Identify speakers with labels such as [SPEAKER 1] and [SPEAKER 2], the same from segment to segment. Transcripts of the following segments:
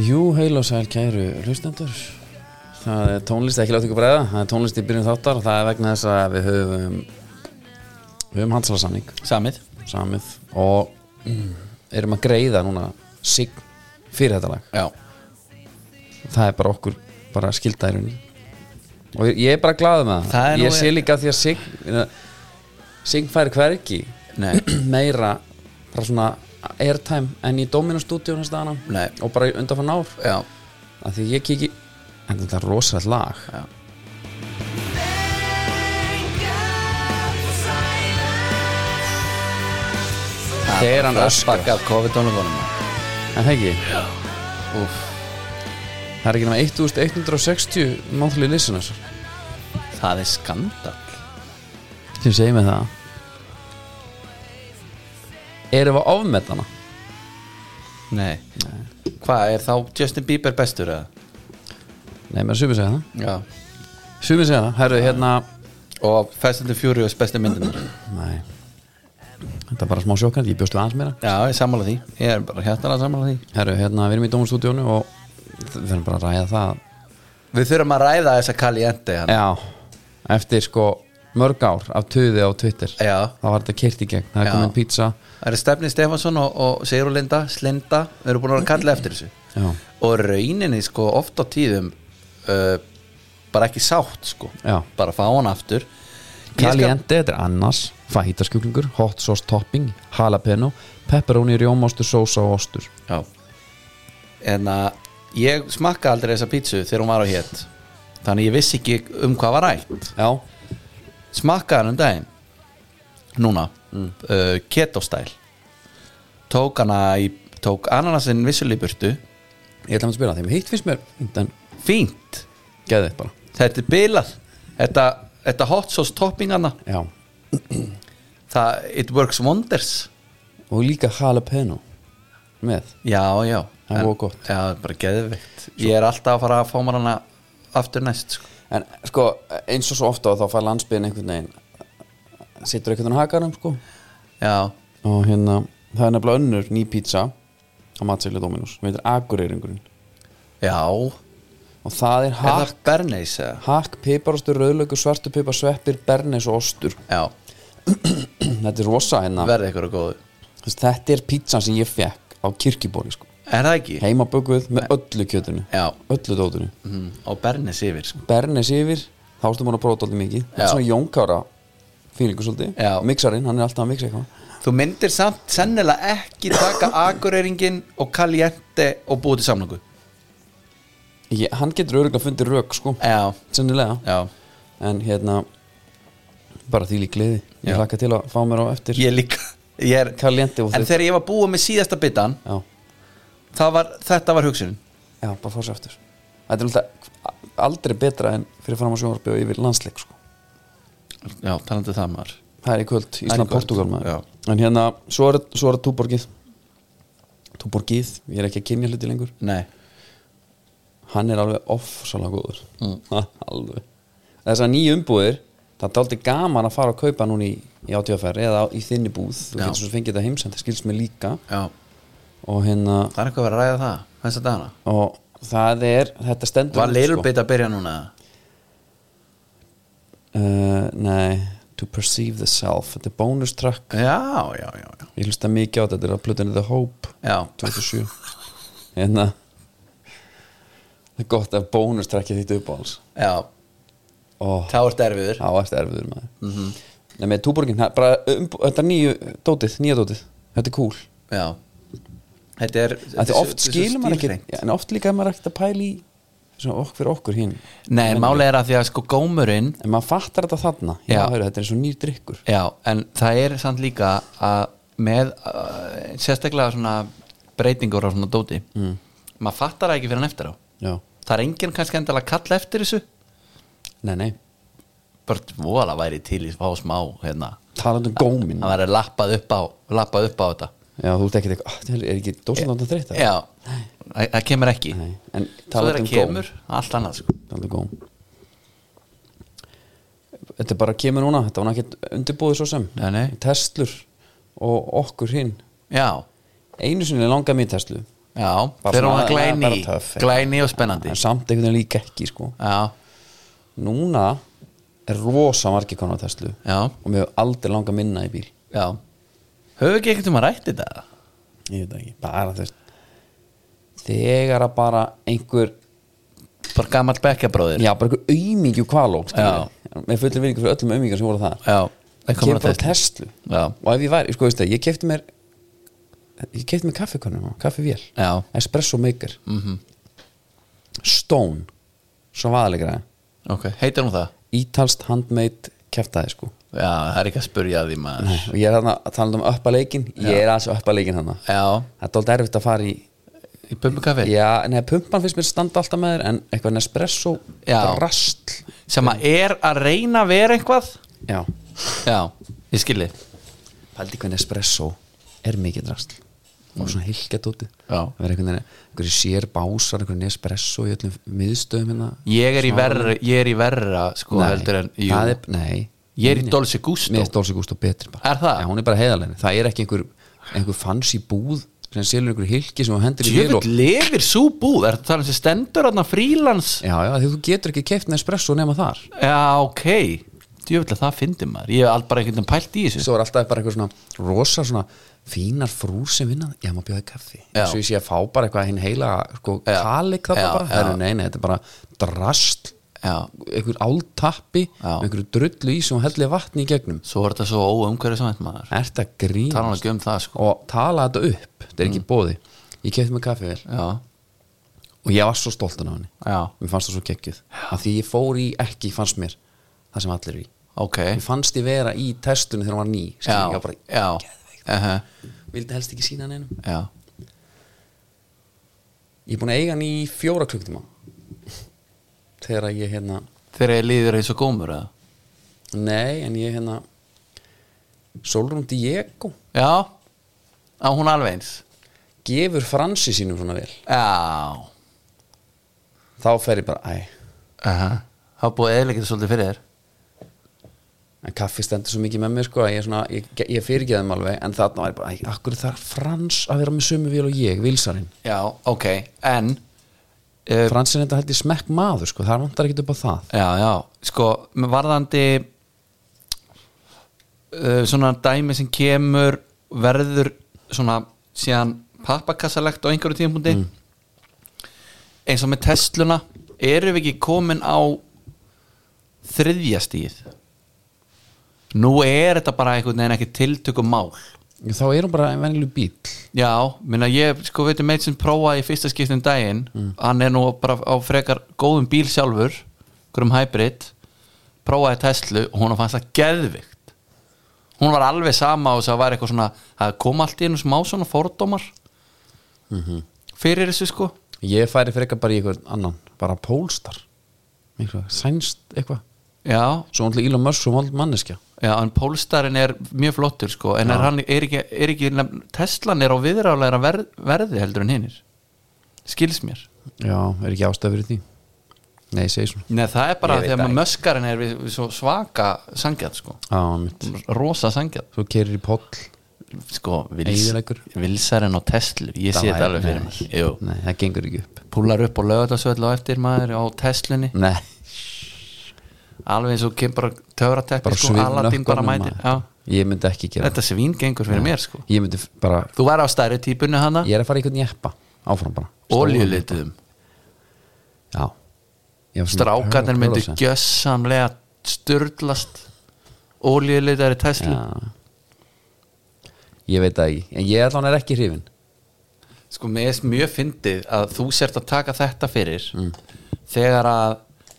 [SPEAKER 1] Jú, heil og sæl kæru hlustendur Það er tónlist, ekki látt ykkur bræða Það er tónlist í byrjun þáttar og það er vegna þess að við höfum við höfum handsalsamning
[SPEAKER 2] Samið
[SPEAKER 1] samið og mm, erum að greiða núna sig fyrir þetta lag
[SPEAKER 2] Já
[SPEAKER 1] Það er bara okkur, bara skilda í rauninni og ég- ég er bara glaðið með það,
[SPEAKER 2] Það er nú-
[SPEAKER 1] Ég sé líka því að sig sig fær hvergi
[SPEAKER 2] Nei.
[SPEAKER 1] meira bara svona airtime en í Dominus stúdíu næsta annan
[SPEAKER 2] Nei.
[SPEAKER 1] og bara undanfann ár
[SPEAKER 2] Já
[SPEAKER 1] að því ég kiki en þetta er rosalegt lag
[SPEAKER 2] Já.
[SPEAKER 1] þegar hann öskar
[SPEAKER 2] Raskar COVID-tónleikunum
[SPEAKER 1] en það ekki Úff. það er ekki nema 1160 monthly listeners
[SPEAKER 2] Það er skandal
[SPEAKER 1] sem segir mig það erum við að ofmeta hana
[SPEAKER 2] Nei. Hvað, er þá Justin Bieber bestur eða?
[SPEAKER 1] nei, með sumið segja það
[SPEAKER 2] Já
[SPEAKER 1] sumið segja það, herru hérna
[SPEAKER 2] Og Fast and the Furious bestu myndin
[SPEAKER 1] nei þetta er bara smá sjokkand, ég bjóst við aðeins meira
[SPEAKER 2] Já, ég sammála því Ég er bara hérna að sammála því
[SPEAKER 1] herru, hérna, við erum í Dómustúdíónu og við erum bara að ræða það
[SPEAKER 2] Við þurfum að ræða þessa Caliente hann.
[SPEAKER 1] Já, eftir sko mörg ár af tuði á Twitter
[SPEAKER 2] Já.
[SPEAKER 1] Það var þetta kyrt í gegn, það er
[SPEAKER 2] Já.
[SPEAKER 1] komin pizza
[SPEAKER 2] Það eru Stefni Stefansson og, og Sigur Linda Slinda, við erum búin að vera að kalla eftir þessu
[SPEAKER 1] Já,
[SPEAKER 2] og rauninni sko oft á tíðum uh, bara ekki sátt sko
[SPEAKER 1] Já.
[SPEAKER 2] bara fá hann aftur Ég skal-
[SPEAKER 1] Caliente, þetta er annars Fajitaskugglingur, hot sauce topping Jalapeno, pepperoni, rjómástur Sósa og ostur
[SPEAKER 2] Já. en að ég smakka aldrei þessa pítsu þegar hún var á hétt þannig ég vissi ekki um hvað var rætt
[SPEAKER 1] Já,
[SPEAKER 2] smakkaði hann um daginn núna uh, keto stæl tók hana í tók ananasinn vissulega í burtu
[SPEAKER 1] ég ætla að spila því Hitt finnst mér, en
[SPEAKER 2] fínt
[SPEAKER 1] geði þetta bara
[SPEAKER 2] þetta er bilað þetta, þetta hot sauce toppingana
[SPEAKER 1] Já,
[SPEAKER 2] það, it works wonders
[SPEAKER 1] og líka jalapeno Með
[SPEAKER 2] já, já
[SPEAKER 1] Það er
[SPEAKER 2] En-
[SPEAKER 1] voða gott.
[SPEAKER 2] já, það er bara geðvikt ég er alltaf að fara að fá mér hana aftur næst sko.
[SPEAKER 1] En sko, eins og svo ofta þá fær landsbyðin einhvern veginn Sittur einhvern veginn á hakanum sko
[SPEAKER 2] já,
[SPEAKER 1] og hérna það er nefnilega önnur ný pizza á matsæli Dominus, við heitir Akureyringurinn
[SPEAKER 2] já
[SPEAKER 1] og það er
[SPEAKER 2] er það
[SPEAKER 1] hakk,
[SPEAKER 2] berneis eða?
[SPEAKER 1] hakk, piparostur, rauðlauku, svartu pipar, sveppir, bernes og ostur
[SPEAKER 2] já,
[SPEAKER 1] þetta er rosa hérna
[SPEAKER 2] verði ykkur að góðu
[SPEAKER 1] Þess, þetta er pizza sem ég fekk á kirkibóri sko.
[SPEAKER 2] er það ekki?
[SPEAKER 1] heima bökuð með öllu kjötinu
[SPEAKER 2] já,
[SPEAKER 1] öllu dótinu,
[SPEAKER 2] mm, og berneis yfir sko.
[SPEAKER 1] bernes yfir þá ástum hann að prófa alltaf mikið þetta
[SPEAKER 2] Já.
[SPEAKER 1] er svona jónkára fílingu svolítið,
[SPEAKER 2] Já.
[SPEAKER 1] mixarinn, hann er alltaf að mixa eitthvað
[SPEAKER 2] þú myndir samt sennilega ekki taka akureyringin og kaljente og búið til samlingu
[SPEAKER 1] ég, hann getur öruglega fundið rök sko,
[SPEAKER 2] já,
[SPEAKER 1] sennilega
[SPEAKER 2] já
[SPEAKER 1] en hérna bara því lík gleði
[SPEAKER 2] Já.
[SPEAKER 1] ég hlakka til að fá mér á eftir
[SPEAKER 2] ég líka ég er,
[SPEAKER 1] Caliente og
[SPEAKER 2] en
[SPEAKER 1] þið-
[SPEAKER 2] þegar ég var búið með síðasta bitan
[SPEAKER 1] já,
[SPEAKER 2] það var, þetta var hugsunin
[SPEAKER 1] já, bara fá sér eftir þetta er alltaf aldrei betra en fyrir fram á sjónvarpi og yfir landsleik sko.
[SPEAKER 2] já, talandi um það maður
[SPEAKER 1] það er í kvöld,
[SPEAKER 2] Það er í
[SPEAKER 1] Ísland,
[SPEAKER 2] kvöld,
[SPEAKER 1] Portugal maður
[SPEAKER 2] já.
[SPEAKER 1] en hérna, svo er, svo er túborgið túborgið, ég er ekki að kynja hluti lengur
[SPEAKER 2] nei,
[SPEAKER 1] hann er alveg ofsalega góður
[SPEAKER 2] Mm.
[SPEAKER 1] alveg þessar nýju umbúðir, það er dálítið gaman að fara að kaupa núna í, í átíðaferð eða á- í þinni búð, þú
[SPEAKER 2] Já.
[SPEAKER 1] getur svo fengið þetta heimsend það skilst mér líka
[SPEAKER 2] já,
[SPEAKER 1] og hérna
[SPEAKER 2] það er eitthvað að vera að ræða það þess að dana,
[SPEAKER 1] og það er, þetta stendur
[SPEAKER 2] var
[SPEAKER 1] út,
[SPEAKER 2] leilur
[SPEAKER 1] sko.
[SPEAKER 2] bit að byrja núna
[SPEAKER 1] Uh, nei, To Perceive the Self Þetta er bonus track
[SPEAKER 2] já, já, já, já,
[SPEAKER 1] Ég hlusta mikið á þetta, þetta er að plötunni The Hope
[SPEAKER 2] já.
[SPEAKER 1] 27 Hérna Það er gott að bonus trackið þitt upp á alls
[SPEAKER 2] já.
[SPEAKER 1] Ó,
[SPEAKER 2] þá ert erfiður
[SPEAKER 1] það var eftir erfiður maður mm -hmm. Nei, með túborgin, það er bara um, Þetta er nýju dótið, nýja dótið Þetta er cool
[SPEAKER 2] já, þetta er
[SPEAKER 1] Þetta er oft
[SPEAKER 2] svo
[SPEAKER 1] skilur maður ekki
[SPEAKER 2] stílhreint.
[SPEAKER 1] já, En oft líka er maður ekkert að pæla í Svona okk fyrir okkur hinn
[SPEAKER 2] nei, málega er að því að sko gómurinn
[SPEAKER 1] En maður fattar þetta þarna Já,
[SPEAKER 2] Já.
[SPEAKER 1] heyru, þetta er eins og nýr drykkur
[SPEAKER 2] já, en það er samt líka að með uh, sérstaklega svona breytingur á svona dóti mm. maður fattar það ekki fyrir hann eftir á
[SPEAKER 1] Já,
[SPEAKER 2] það er enginn kannski endilega að kalla eftir þessu
[SPEAKER 1] nei, nei
[SPEAKER 2] bara vola væri til í fá smá hérna,
[SPEAKER 1] Talandi um gómin
[SPEAKER 2] hann væri lappað upp á lappað upp á þetta
[SPEAKER 1] Já, þú ert ekkert eitthvað, "Ah, er ekki dósandandan þreytta?
[SPEAKER 2] já, það það kemur ekki
[SPEAKER 1] Nei, en
[SPEAKER 2] svo
[SPEAKER 1] talandi
[SPEAKER 2] þegar
[SPEAKER 1] um
[SPEAKER 2] það kemur, allt annað sko.
[SPEAKER 1] góm, talandi um góm. Þetta bara kemur núna, þetta var ekkert undirbúið svo sem
[SPEAKER 2] Nei, nei.
[SPEAKER 1] Teslur og okkur hinn
[SPEAKER 2] já,
[SPEAKER 1] Einu sinni langaði mér í Teslu
[SPEAKER 2] Já,
[SPEAKER 1] Bara
[SPEAKER 2] þegar hún
[SPEAKER 1] svona
[SPEAKER 2] var
[SPEAKER 1] bara
[SPEAKER 2] glæni
[SPEAKER 1] töff, já.
[SPEAKER 2] Glæni og spennandi
[SPEAKER 1] en samt einhvern veginn líka ekki sko.
[SPEAKER 2] Já,
[SPEAKER 1] núna er rosa margir konar á Tesla
[SPEAKER 2] já,
[SPEAKER 1] og mér hefur aldrei langa minna í bíl
[SPEAKER 2] já Höfum við ekki einhvern tímann rætt þetta?
[SPEAKER 1] ég veit það ekki, bara þú veist þegar að bara einhver
[SPEAKER 2] Bara gamall bekkjabróðir
[SPEAKER 1] já, bara einhver auðmingju kvalók
[SPEAKER 2] Já.
[SPEAKER 1] með fullir virðingu fyrir öllum auðmingar sem voru það
[SPEAKER 2] Já, það
[SPEAKER 1] kemur
[SPEAKER 2] komur að
[SPEAKER 1] bara
[SPEAKER 2] testa
[SPEAKER 1] Tesla
[SPEAKER 2] Já.
[SPEAKER 1] og ef ég væri, sko veist það, ég kefti mér ég kefti mér kaffikonum, kaffivél
[SPEAKER 2] Já, Mhm.
[SPEAKER 1] espresso maker -hmm. stone svo vaðalega
[SPEAKER 2] ok, heitir hún það?
[SPEAKER 1] ítalst handmade keftaði sko
[SPEAKER 2] Já, það er ekki að spurja að því maður
[SPEAKER 1] og ég er þarna að tala um uppaleikin ég er aðeins uppaleikin hann
[SPEAKER 2] Já,
[SPEAKER 1] það er dálítið erfitt að fara í
[SPEAKER 2] í bumbukaffi
[SPEAKER 1] já, neða, pumpan finnst mér standa alltaf með þér en eitthvað Nespresso,
[SPEAKER 2] Já.
[SPEAKER 1] rastl
[SPEAKER 2] Sem að er að reyna að vera eitthvað
[SPEAKER 1] já,
[SPEAKER 2] Já, ég skilji
[SPEAKER 1] pældi hvað Nespresso er mikið rastl og svona hilkjað úti
[SPEAKER 2] Já.
[SPEAKER 1] það verður einhvern veginn, einhverju sér básar einhverju Nespresso í öllum miðstöðum hérna
[SPEAKER 2] Ég er í verra, ég er í verra sko, heldur en, jú,
[SPEAKER 1] það er, nei
[SPEAKER 2] ég er í Dolce Gusto
[SPEAKER 1] mér er Dolce Gusto betri bara
[SPEAKER 2] Er það?
[SPEAKER 1] Já, hún er bara heiðalegni, það er ekki einhver einhver fancy búð sem selur einhver hilki sem hún hendur í vél og
[SPEAKER 2] Jöfull lifir svo búð Er það talað um sem stendur aðna frílans
[SPEAKER 1] Já, já, því þú getur ekki keift Nespresso nema þar
[SPEAKER 2] Já, ok Jöfull að það fyndi maður Ég hef all- bara einhvern veginn pælt í þessu
[SPEAKER 1] Svo er alltaf bara eitthvað svona rosa svona fínar frúr sem vinna Já, maður bjóði kaffi
[SPEAKER 2] Já.
[SPEAKER 1] Svo ég sé að fá bara eitthvað hinn heila sko,
[SPEAKER 2] Já.
[SPEAKER 1] kalik þarna
[SPEAKER 2] Já,
[SPEAKER 1] bara
[SPEAKER 2] já.
[SPEAKER 1] Heru, Nei, nei, þetta er bara drast
[SPEAKER 2] Já,
[SPEAKER 1] einhver áltappi
[SPEAKER 2] Já.
[SPEAKER 1] einhver drullu í sem hún hellir vatni í gegnum
[SPEAKER 2] svo er þetta svo óumhverju saman maður
[SPEAKER 1] Er þetta grín
[SPEAKER 2] Tala Mm. hann ekki um það sko
[SPEAKER 1] og tala þetta upp Þetta er ekki bóði Ég kefti mig kaffi vel
[SPEAKER 2] Já,
[SPEAKER 1] og ég var svo stoltan af henni
[SPEAKER 2] já,
[SPEAKER 1] Mér fannst það svo geggjuð Af því ég fór í ekki fannst mér það sem allir eru í
[SPEAKER 2] ok
[SPEAKER 1] Mér fannst ég vera í testunni þegar hún var ný Skilur,
[SPEAKER 2] Já,
[SPEAKER 1] Ég var bara,
[SPEAKER 2] já, ehe,
[SPEAKER 1] vildi helst ekki sína neinum
[SPEAKER 2] já
[SPEAKER 1] Ég er búin að eiga hann í fjóra klukkutíma Þegar að ég hérna
[SPEAKER 2] Þegar ég líður eins og gómur eða
[SPEAKER 1] Nei, en ég hérna Solrún Diego
[SPEAKER 2] Já, á hún alveg eins
[SPEAKER 1] Gefur fransi sínum svona vel
[SPEAKER 2] Já,
[SPEAKER 1] Þá fer ég bara, æ
[SPEAKER 2] ehe Það er búið eðilegir svolítið fyrir þér
[SPEAKER 1] En kaffi stendur svo mikið með mér sko að Ég, er svona, ég, ég fyrir ekki þeim alveg En þarna var ég bara, æ, akkur þarf frans að vera með sömu vel og ég, vilsarinn
[SPEAKER 2] Já, ok, en uh,
[SPEAKER 1] Fransin þetta held ég smekk maður sko Það vantar ekkit upp á það
[SPEAKER 2] Já, já, sko, með varðandi uh, svona dæmi sem kemur verður svona síðan pappakassalegt á einhverju tímpúndi eins og með Tesluna erum við ekki komin á þriðja stíð nú er þetta bara einhvern veginn ekki tiltökum mál
[SPEAKER 1] Þá er hún bara en venjuleg bíl
[SPEAKER 2] Já, minna ég sko veitum meitt sem prófaði í fyrsta skiptin daginn hann er nú bara á frekar góðum bíl sjálfur hverjum hybrid prófaði Tesla og hún fannst það geðvikt hún var alveg sama og það var eitthvað svona það kom allt í einu smá svona fordómar fyrir þessu sko
[SPEAKER 1] Ég færi frekar bara í eitthvað annan Bara pólstar Eitthvað, sænst eitthvað
[SPEAKER 2] Já,
[SPEAKER 1] Svo hún til Elon Musk og vald manneskja
[SPEAKER 2] já en Polestarinn er mjög flottur sko en er hann, er ekki, er ekki nefn- Teslan er á viðrálega verð, verði heldur en hinnir skils mér
[SPEAKER 1] Já, er ekki ástæð fyrir því Nei, ég segi svona
[SPEAKER 2] Nei, það er bara
[SPEAKER 1] Ég veit
[SPEAKER 2] því að
[SPEAKER 1] það
[SPEAKER 2] maður möskarinn er við, við svo svaka sangjað, sko
[SPEAKER 1] Já, mitt
[SPEAKER 2] rosa sangjað,
[SPEAKER 1] Svo kerir í poll
[SPEAKER 2] sko
[SPEAKER 1] Eyðileggur. hérna
[SPEAKER 2] vilsarinn og Tesla, ég sé þetta alveg fyrir mér Jú,
[SPEAKER 1] Nei, það gengur ekki upp
[SPEAKER 2] púlar upp og lögðarsvöld og eftir maður á Teslunni
[SPEAKER 1] Nei,
[SPEAKER 2] alveg eins og kemur bara töfrateppi,
[SPEAKER 1] bara
[SPEAKER 2] sko, Aladdin bara mætir Já,
[SPEAKER 1] Ég myndi ekki gera
[SPEAKER 2] þetta svín gengur fyrir mér, sko
[SPEAKER 1] það Ég myndi f- bara
[SPEAKER 2] Þú væri á stærri típunni hana,
[SPEAKER 1] Ég er að fara í einhvern jeppa Áfram bara
[SPEAKER 2] oljulituðum
[SPEAKER 1] Já Ég var svona
[SPEAKER 2] strákarnir
[SPEAKER 1] pöla-
[SPEAKER 2] myndu
[SPEAKER 1] pöla-
[SPEAKER 2] gjössamlega sturdlast oljulitari Tesla
[SPEAKER 1] Já Ég veit það ekki En ég allan er ekki hrifin
[SPEAKER 2] sko mér er mjög fyndið að þú sért að taka þetta fyrir
[SPEAKER 1] Mm.
[SPEAKER 2] þegar að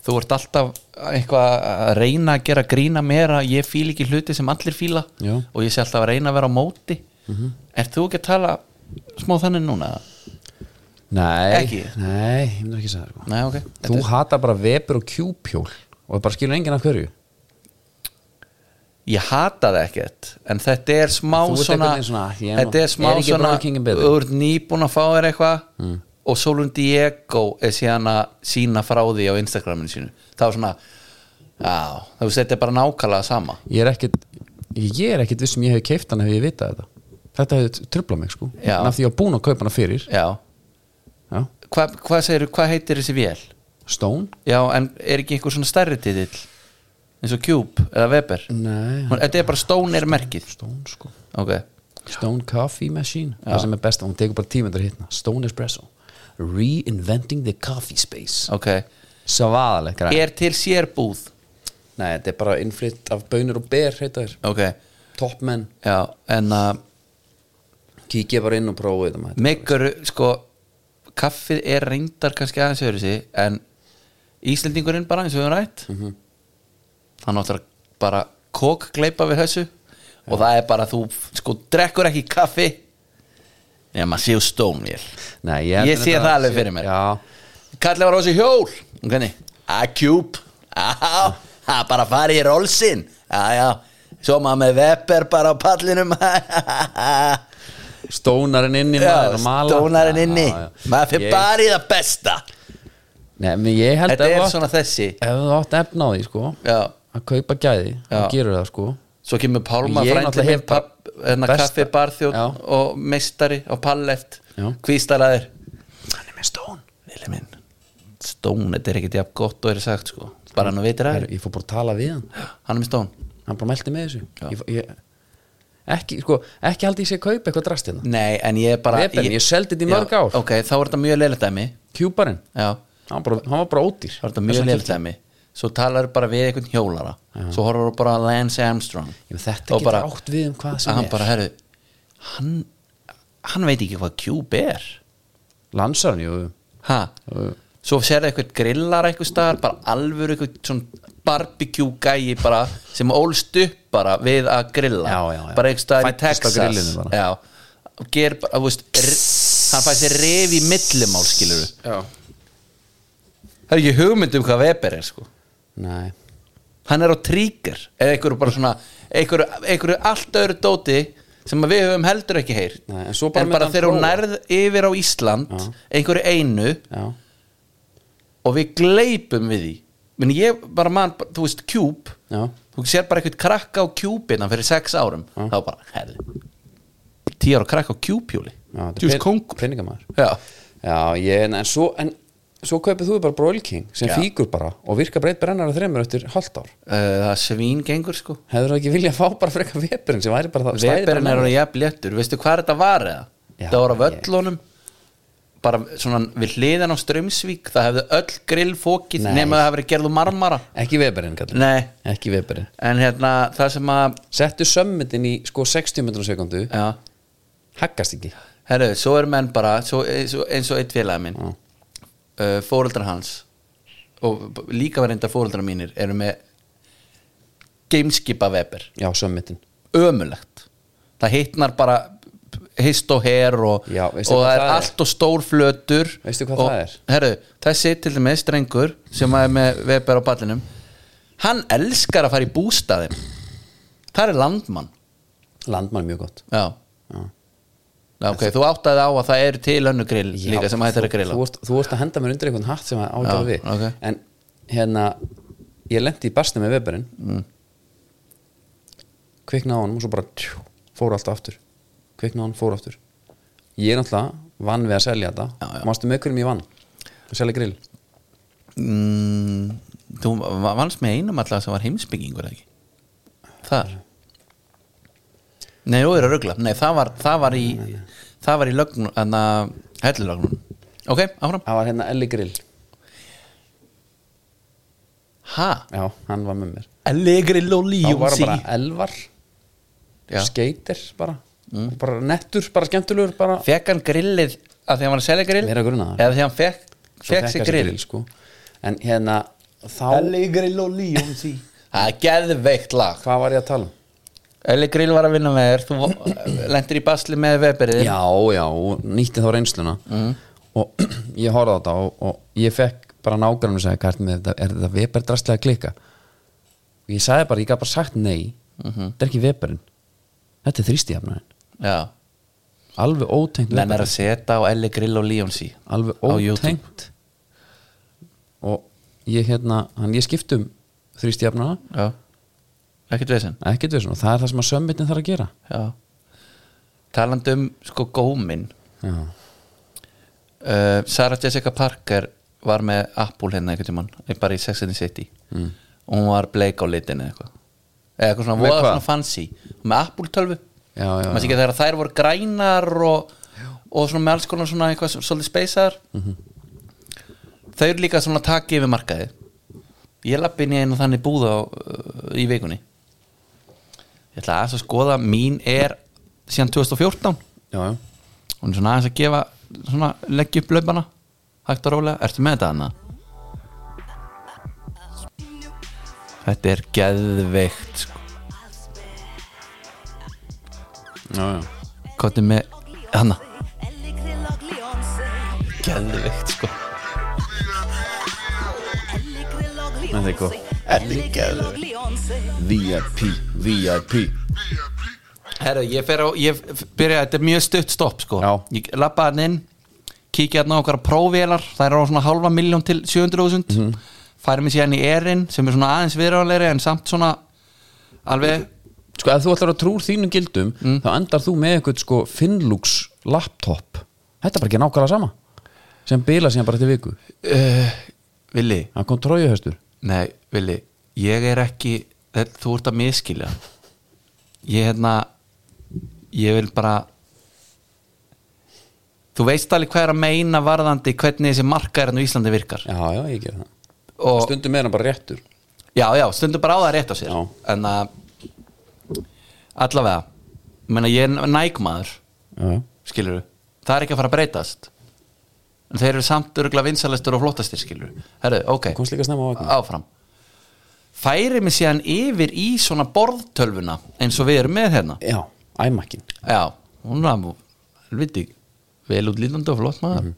[SPEAKER 2] þú ert alltaf eitthvað að reyna að gera grína mér að ég fíl ekki hluti sem allir fíla
[SPEAKER 1] Já. Mhm.
[SPEAKER 2] og ég sé alltaf að reyna að vera á móti ert þú ekki að tala smá þannig núna?
[SPEAKER 1] Nei
[SPEAKER 2] Ekki?
[SPEAKER 1] Nei, ég myndi ekki að segja það sko.
[SPEAKER 2] Nei, ok
[SPEAKER 1] Þú hata bara vepur og kjúpjól og bara skilur enginn af hverju
[SPEAKER 2] ég hata það ekkert en þetta er smá
[SPEAKER 1] Þú ert
[SPEAKER 2] svona,
[SPEAKER 1] einhvern veginn svona, ég er nú-
[SPEAKER 2] þetta er smá
[SPEAKER 1] er ekki
[SPEAKER 2] svona
[SPEAKER 1] Burger Mm. King in betur?
[SPEAKER 2] þú ert nýbúin að fá þér eitthvað og Solon Diego er síðan að sína frá því á Instagraminu sínu það var svona já, þú setja bara nákvæmlega sama
[SPEAKER 1] Ég er ekkit Ég er ekkit vissum ég hefði keift hann ef ég vitað þetta Þetta hefði tröflað mig sko
[SPEAKER 2] Já.
[SPEAKER 1] En af því ég var búin að kaupa hana fyrir
[SPEAKER 2] já, hvað hva segirðu, hvað heitir þessi vél?
[SPEAKER 1] Stone?
[SPEAKER 2] Já, en er ekki einhver svona stærri titill eins og Cube eða Weber
[SPEAKER 1] Nei,
[SPEAKER 2] Hún- Þetta er bara Stone er merkið
[SPEAKER 1] Stone sko
[SPEAKER 2] Ok,
[SPEAKER 1] Stone Coffee Machine það sem er besta, hún tekur bara tímundar hittna Stone Espresso Reinventing the Coffee Space
[SPEAKER 2] ok
[SPEAKER 1] Savaðaleg græn
[SPEAKER 2] Er til sér búð
[SPEAKER 1] Nei, þetta er bara innflytt af bönur og ber heita þér
[SPEAKER 2] Ok,
[SPEAKER 1] Topmenn
[SPEAKER 2] já, en uh, að
[SPEAKER 1] Kíkja bara inn og prófa þetta maður
[SPEAKER 2] Megar, sko Kaffið er reyndar kannski aðeins öðru sig En Íslendingurinn bara eins og við höfum rætt Hann áttur að bara Kók gleipa við þessu Og það er bara að þú, sko, drekkur ekki kaffi Nefn að séu stónvél
[SPEAKER 1] Nei,
[SPEAKER 2] Ég sé það alveg fyrir mér.
[SPEAKER 1] Já,
[SPEAKER 2] Kallið var á þessu hjól Hvernig? A-Cube Já, það er bara að fara í rólsinn Já, já Svo maður með Weber bara á pallinum
[SPEAKER 1] stónarinn inni
[SPEAKER 2] Já,
[SPEAKER 1] maður að mala.
[SPEAKER 2] Stónarinn inni
[SPEAKER 1] Já, já.
[SPEAKER 2] Maður fyrir
[SPEAKER 1] Ég-
[SPEAKER 2] bara í það besta
[SPEAKER 1] Nei, menn ég held
[SPEAKER 2] Þetta
[SPEAKER 1] að
[SPEAKER 2] er
[SPEAKER 1] ef
[SPEAKER 2] svona þessi
[SPEAKER 1] þú átt efna á því sko
[SPEAKER 2] Já
[SPEAKER 1] að kaupa gæði,
[SPEAKER 2] Já.
[SPEAKER 1] þá gerur það sko
[SPEAKER 2] Svo kemur Pálma
[SPEAKER 1] Ég
[SPEAKER 2] frændi
[SPEAKER 1] náttúrulega
[SPEAKER 2] minn
[SPEAKER 1] hef bara
[SPEAKER 2] papp, hérna,
[SPEAKER 1] besta-
[SPEAKER 2] kaffi barþjóð
[SPEAKER 1] Já.
[SPEAKER 2] og meistari og palleft
[SPEAKER 1] Já.
[SPEAKER 2] hvístalaðir
[SPEAKER 1] Hann er með stón
[SPEAKER 2] Vili minn Stón, þetta er ekkert jafn gott og er sagt sko bara hann veitir að
[SPEAKER 1] Ég fór bara að tala við hann
[SPEAKER 2] hann er með stón
[SPEAKER 1] hann bara meldi með þessu ég, ég, ekki, sko, ekki haldi ég sé að kaupa eitthvað drast hérna
[SPEAKER 2] Nei, en ég er bara
[SPEAKER 1] Weber, ég seldi þetta í mörg
[SPEAKER 2] Já,
[SPEAKER 1] ár.
[SPEAKER 2] Ok, þá er þetta mjög leiligt dæmi
[SPEAKER 1] kjúparinn,
[SPEAKER 2] Já,
[SPEAKER 1] hann, bara, hann var bara ódýr
[SPEAKER 2] þá er þetta mjög leiligt dæmi Svo talar bara við einhvern hjólara Svo horfur þú bara að Lance Armstrong
[SPEAKER 1] ég, með þetta
[SPEAKER 2] Og
[SPEAKER 1] getur
[SPEAKER 2] bara-
[SPEAKER 1] átt við um hvað
[SPEAKER 2] Að
[SPEAKER 1] sem
[SPEAKER 2] hann
[SPEAKER 1] er
[SPEAKER 2] bara, herru Hann, hann veit ekki hvað Cube er
[SPEAKER 1] landsarinn, jú
[SPEAKER 2] Ha?
[SPEAKER 1] Jú.
[SPEAKER 2] Svo sérðu eitthvað grillar eitthvað staðar Bara alvöru eitthvað svona barbecue gæi bara Sem ólst upp bara við að grilla
[SPEAKER 1] Já, já, já.
[SPEAKER 2] Bara eitthvað staðar í
[SPEAKER 1] Fæddist á
[SPEAKER 2] Texas
[SPEAKER 1] grillinu bara.
[SPEAKER 2] Já Og ger bara, þú veist r- Hann fæði sér ref í millimál skilur
[SPEAKER 1] já.
[SPEAKER 2] Það er ekki hugmynd um hvað Weber er sko
[SPEAKER 1] nei,
[SPEAKER 2] Hann er á trigger eða einhverju bara svona einhverju, einhverju allt öðru dóti sem að við höfum heldur ekki heyrt
[SPEAKER 1] Nei, en svo bara myndi
[SPEAKER 2] bara
[SPEAKER 1] hann
[SPEAKER 2] þegar hún
[SPEAKER 1] prófa.
[SPEAKER 2] nærð yfir á Ísland
[SPEAKER 1] Já.
[SPEAKER 2] einhverju einu
[SPEAKER 1] já,
[SPEAKER 2] og við gleipum við því menn ég bara mann, þú veist, Cube
[SPEAKER 1] já
[SPEAKER 2] þú sér bara eitthvað krakka á Cube-ina fyrir sex árum,
[SPEAKER 1] Já.
[SPEAKER 2] þá bara herðu, tíu ára krakka á Cube-hjóli
[SPEAKER 1] já þetta er
[SPEAKER 2] djúst
[SPEAKER 1] pen-
[SPEAKER 2] kongur
[SPEAKER 1] peningamæður
[SPEAKER 2] já,
[SPEAKER 1] já, ég, en, en svo en, svo kaupið þú bara Broil King sem
[SPEAKER 2] Já.
[SPEAKER 1] fíkur bara og virka breytt brennara þreymur eftir halvt ár
[SPEAKER 2] Eh, það svín gengur sko
[SPEAKER 1] hefur það ekki viljað fá bara frekar Weberinn sem væri bara það stæði bara
[SPEAKER 2] Weberinn er
[SPEAKER 1] með-
[SPEAKER 2] orðið jafn léttur, veistu hvað þetta var eða?
[SPEAKER 1] Já,
[SPEAKER 2] það var á
[SPEAKER 1] ég-
[SPEAKER 2] völlunum bara svona við hliðan á Strömsvík það hefði öll grill fókið
[SPEAKER 1] Nei.
[SPEAKER 2] nema það hefði verið gerð úr marmara
[SPEAKER 1] ekki Weberinn, kallar
[SPEAKER 2] Nei,
[SPEAKER 1] ekki Weberinn
[SPEAKER 2] en hérna það sem að
[SPEAKER 1] settu sömmitin í sko 60 metrun sekundu
[SPEAKER 2] já,
[SPEAKER 1] haggast ekki
[SPEAKER 2] herru, svo er menn bara svo, eins og- eins og eitt félagi minn
[SPEAKER 1] Já.
[SPEAKER 2] uh, fóreldrar hans og b- líka var reynda fóreldrar mínir eru með gameskipa Weber
[SPEAKER 1] já, sömmitin
[SPEAKER 2] ömulegt það hittnar bara hist og her og,
[SPEAKER 1] Já,
[SPEAKER 2] og
[SPEAKER 1] veistu hvað
[SPEAKER 2] það er
[SPEAKER 1] það er?
[SPEAKER 2] allt og stór flötur
[SPEAKER 1] Veistu hvað
[SPEAKER 2] og,
[SPEAKER 1] það er?
[SPEAKER 2] herru, þessi til dæmis strengur sem er með Weber á pallinum hann elskar að fara í bústaðin það er landmann
[SPEAKER 1] landmann er mjög gott
[SPEAKER 2] já,
[SPEAKER 1] Já.
[SPEAKER 2] já ok, þú áttaði á að það eru til önnu grill
[SPEAKER 1] Já,
[SPEAKER 2] líka sem hættir að
[SPEAKER 1] þú-
[SPEAKER 2] grilla
[SPEAKER 1] þú, ert- þú vorst að henda mér undir einhvern hatt sem að
[SPEAKER 2] Já,
[SPEAKER 1] ágæða við
[SPEAKER 2] ok.
[SPEAKER 1] en hérna ég lendi í barsni með veberinn mm. kviknaði á honum og svo bara tjú, fór allt aftur kviknaði á honum, fór aftur ég er náttúrulega vann við að selja þetta
[SPEAKER 2] Já, já.
[SPEAKER 1] mástu með hverjum ég vann að selja grill
[SPEAKER 2] mm, þú va- vannst með einum alltaf sem var heimsbyggingur eða ekki þar nei, þú eru að ruggla nei, það var, það var í það var í lögn, en að hellulögnun ok, áfram
[SPEAKER 1] það var hérna Elli Grill
[SPEAKER 2] ha,
[SPEAKER 1] já, hann var með mér
[SPEAKER 2] allegri loli
[SPEAKER 1] þá var bara Elvar
[SPEAKER 2] Já.
[SPEAKER 1] skeitir bara Og bara nettur, bara skemmtulegur bara
[SPEAKER 2] fekk hann grillið að því hann var að selja grill
[SPEAKER 1] Mér er að gruna það.
[SPEAKER 2] eða því hann fekk,
[SPEAKER 1] Svo
[SPEAKER 2] fekk sér
[SPEAKER 1] hann
[SPEAKER 2] grill,
[SPEAKER 1] sko. en hérna þá,
[SPEAKER 2] allegri loli það er geðveikt lag
[SPEAKER 1] hvað var ég að tala um?
[SPEAKER 2] allegri var að vinna með þér þú lendir í basli með veberið
[SPEAKER 1] já, já, og nýtti þá reynsluna
[SPEAKER 2] Mhm.
[SPEAKER 1] og ég horfði á þetta og, og ég fekk bara nágrann og segja hvernig er þetta, er þetta Weber drastlega að klika og ég sagði bara, ég gaf bara sagt nei
[SPEAKER 2] Mhm.
[SPEAKER 1] þetta er ekki Weberinn þetta er þrýstihafnarinn,
[SPEAKER 2] já.
[SPEAKER 1] alveg ótengt
[SPEAKER 2] Menn er að setja á Elli Grill og Líonsi
[SPEAKER 1] alveg
[SPEAKER 2] Á YouTube.
[SPEAKER 1] ótengt og ég hérna hann, ég skiptum þrýstihafnara
[SPEAKER 2] Já Ekkert veginn
[SPEAKER 1] ekkert við svona, það er það sem að sömmitin þarf að gera
[SPEAKER 2] Já Talandi um sko gómin
[SPEAKER 1] já,
[SPEAKER 2] uh, Sarah Jessica Parker var með Apple hérna einhvern tímann eh, bara í Sex and the City mm. og hún var bleik á litinu eitthvað eða eitthvað svona
[SPEAKER 1] Með
[SPEAKER 2] voða
[SPEAKER 1] hvað?
[SPEAKER 2] svona fancy með Apple tölvu
[SPEAKER 1] Já, já,
[SPEAKER 2] maður sé ekki þegar þær voru grænar og, og svona með alls konar svona eitthvað svo- svolítið speysar
[SPEAKER 1] Mhm.
[SPEAKER 2] þau eru líka svona taki yfir markaði ég lappi inn í einu þannig búða á, uh, í vikunni ég ætla aðeins að skoða mín er síðan 2014
[SPEAKER 1] já, já.
[SPEAKER 2] hún er svona aðeins að gefa svona leggja upp laupana hægt og rólega, ertu með þetta hana? Þetta er geðveikt sko.
[SPEAKER 1] já, já.
[SPEAKER 2] hvað er með hana?
[SPEAKER 3] Nei,
[SPEAKER 2] Geðveikt sko
[SPEAKER 3] það er góð Elligeður
[SPEAKER 1] VIP, VIP
[SPEAKER 2] Herra, ég fer á, ég byrja, þetta er mjög stutt stopp sko
[SPEAKER 1] Já.
[SPEAKER 2] Ég lappa hann inn, kíkja hann á okkar prófvélar Það er á svona halva miljón til 700.000 mm -hmm. Færi mig síðan í erinn sem er svona aðeins viðráðanlegri En samt svona alveg
[SPEAKER 1] Sko, ef þú ætlar að trúr þínum gildum þá endar þú með eitthvað sko Finnlux laptop Þetta er bara ekki nákvæmlega sama sem bila síðan bara til viku
[SPEAKER 2] uh, Vili,
[SPEAKER 1] Það kom trójuhestur
[SPEAKER 2] nei, Vili Ég er ekki, þetta, þú ert að miskilja Ég hérna Ég vil bara Þú veist alveg hvað er að meina varðandi hvernig þessi markaðurinn á Íslandi virkar
[SPEAKER 1] Já, já, ég ger það
[SPEAKER 2] og,
[SPEAKER 1] Stundum er hann bara réttur
[SPEAKER 2] Já, já, stundum bara á það rétt á sér
[SPEAKER 1] Já.
[SPEAKER 2] En að Allavega Menna, Ég er nægmaður,
[SPEAKER 1] Já,
[SPEAKER 2] skilur Það er ekki að fara að breytast En þeir eru samt örgla vinsælastur og flottastir, skilur Herðu, ok,
[SPEAKER 1] komst líka snemma á vagn
[SPEAKER 2] áfram Færi mig síðan yfir í svona borðtölvuna eins og við erum með hérna
[SPEAKER 1] Já, æmakkin
[SPEAKER 2] Já, hún var nú helviti vel út lítandi og flott maður
[SPEAKER 1] Mhm.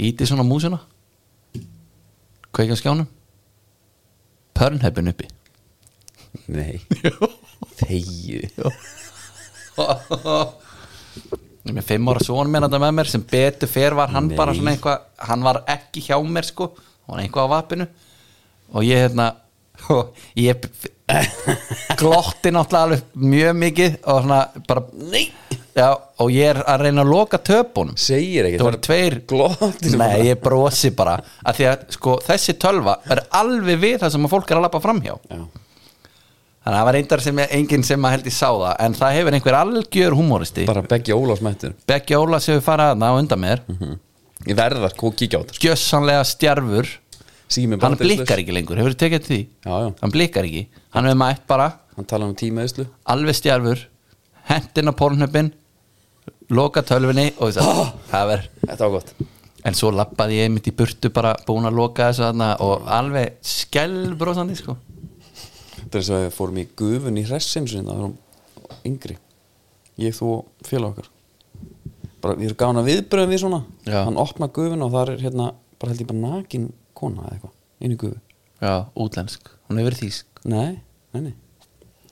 [SPEAKER 2] Íti svona músina Kveikja á skjánum Pörnheppin uppi
[SPEAKER 1] Nei, þegi
[SPEAKER 2] Ég er með fimm ára son mér þetta með mér sem betur fer var hann
[SPEAKER 1] Nei.
[SPEAKER 2] bara svona eitthvað hann var ekki hjá mér sko hann var eitthvað á vapinu og ég hérna og ég glotti náttúrulega alveg mjög mikið og svona bara Nei. Já, og ég er að reyna að loka töpunum
[SPEAKER 1] Segir ekki
[SPEAKER 2] það voru tveir
[SPEAKER 1] Glottir
[SPEAKER 2] Nei, ég brosi bara að því að sko, þessi tölva er alveg við það sem að fólk er að lappa framhjá
[SPEAKER 1] Já,
[SPEAKER 2] þannig að það var reyndar sem ég, enginn sem að held ég sá það en það hefur einhver algjör humoristi
[SPEAKER 1] bara beggi ólásmættur
[SPEAKER 2] Beggi Óla sem við fara aðna á undan mér
[SPEAKER 1] Ég verða að kó- kíkja á þetta sko.
[SPEAKER 2] gjössanlega stjarfur
[SPEAKER 1] Sími bara
[SPEAKER 2] hann
[SPEAKER 1] til
[SPEAKER 2] blikkar
[SPEAKER 1] þess.
[SPEAKER 2] ekki lengur, hefur þið tekið eftir því
[SPEAKER 1] Já, já.
[SPEAKER 2] hann blikkar ekki, hann hefur mætt bara
[SPEAKER 1] Hann tala um tímaðislu
[SPEAKER 2] alveg stjarfur hendin á pornhöppin loka tölvinni og þess að það verður
[SPEAKER 1] Þetta var gott
[SPEAKER 2] en svo lappaði ég einmitt í burtu bara búin að loka þessu þarna og alveg skellbrosandi sko
[SPEAKER 1] Þetta er þess að við fórum í gufun í hressin sinna, það varum yngri ég þú og félag okkar bara við erum gána viðbröðum við svona
[SPEAKER 2] Já.
[SPEAKER 1] hann opna gufun og það er hérna bara held ég bara nakin kona eða eitthvað inn í gufu,
[SPEAKER 2] já, útlensk, hún hefur verið þýsk
[SPEAKER 1] nei, nei, nei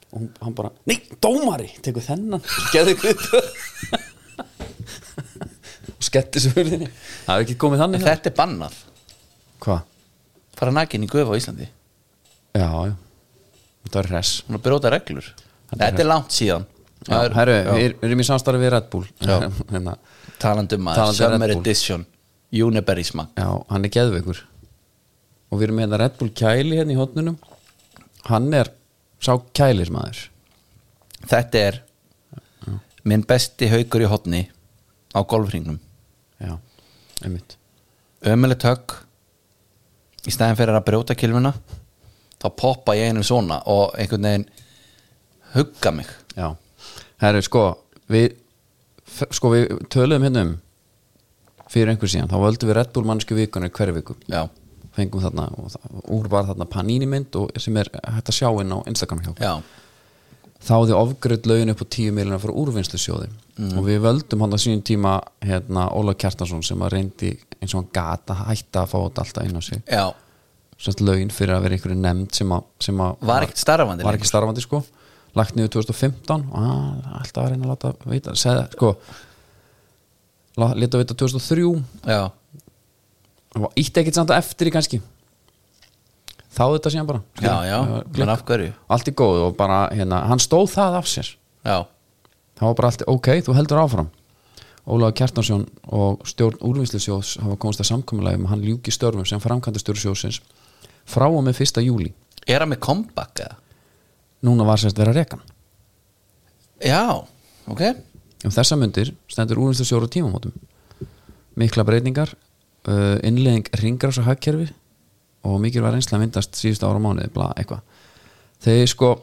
[SPEAKER 1] og hún, hann bara, nei, dómari tekur þennan, geðu guð og skellir svo hurðinni það er ekki komið
[SPEAKER 2] en
[SPEAKER 1] þannig hérna.
[SPEAKER 2] þetta er bannað,
[SPEAKER 1] hvað?
[SPEAKER 2] fara nakin í gufa á Íslandi
[SPEAKER 1] já, já, þetta er hress
[SPEAKER 2] hún er að brjóta reglur þetta er langt síðan
[SPEAKER 1] Já,
[SPEAKER 2] Það er-
[SPEAKER 1] herru,
[SPEAKER 2] já.
[SPEAKER 1] við við erum í samstarfi við Red Bull
[SPEAKER 2] Já.
[SPEAKER 1] hérna,
[SPEAKER 2] talandi um að
[SPEAKER 1] Talandi um
[SPEAKER 2] Summer
[SPEAKER 1] Red Bull.
[SPEAKER 2] Edition Uniberry smak
[SPEAKER 1] Já, hann er geðveikur og við erum með hérna Red Bull Kæli hérna í hotnunum hann er sá kælismæður
[SPEAKER 2] þetta er minn besti haukur í hotni á golfringnum
[SPEAKER 1] já, einmitt
[SPEAKER 2] ömulegt högg í stæðin fyrir að brjóta kilfuna þá poppa ég einum svona og einhvern veginn hugga mig
[SPEAKER 1] já, herru sko við, f- sko við töluðum hérna um fyrir einhver síðan, þá völdum við Red Bull mannsku vikunar hverju viku,
[SPEAKER 2] já,
[SPEAKER 1] fengum þarna og það, úr var þarna panini mynd og sem er hægt að sjá inn á Instagram hjá okkur.
[SPEAKER 2] já,
[SPEAKER 1] þá þið ofgröð lögin upp á 10 miljonar frá úrvinnslusjóði
[SPEAKER 2] Mm.
[SPEAKER 1] og við völdum hann að sínum tíma hérna, Óla Kjartansson sem að reyndi eins og hann gata hætta að fá þetta alltaf inn á sig
[SPEAKER 2] já
[SPEAKER 1] Sett lögin fyrir að vera einhverju nefnd sem að, sem að
[SPEAKER 2] var ekkert starfandi
[SPEAKER 1] var ekki starfandi sko lagt niður 2015 og hann er alltaf að reyna að láta vita segja, sko, la- leta vita 2003
[SPEAKER 2] já,
[SPEAKER 1] og ítti ekkert samt eftir í kannski þá þetta síðan bara
[SPEAKER 2] já, já,
[SPEAKER 1] Glugg.
[SPEAKER 2] menn af hverju
[SPEAKER 1] allt í góðu og bara hérna, hann stóð það af sér
[SPEAKER 2] já,
[SPEAKER 1] það var bara allt, ok, þú heldur áfram Ólaður Kjartansson og stjórn úrvinnslusjóðs hafa komist að samkomulega um að hann ljúki störfum sem framkvæmdastjóri sjóðsins frá og með 1. júli
[SPEAKER 2] Er hann með comeback eða?
[SPEAKER 1] núna var sérst vera rekan
[SPEAKER 2] Já, ok
[SPEAKER 1] um þessa myndir stendur úrvinnslusjóður á tímamótum mikla breytingar uh, innlegging ringrása hagkerfi og mikilvæg reynsla myndast síðustu ára mánuði bla eitthvað þegar sko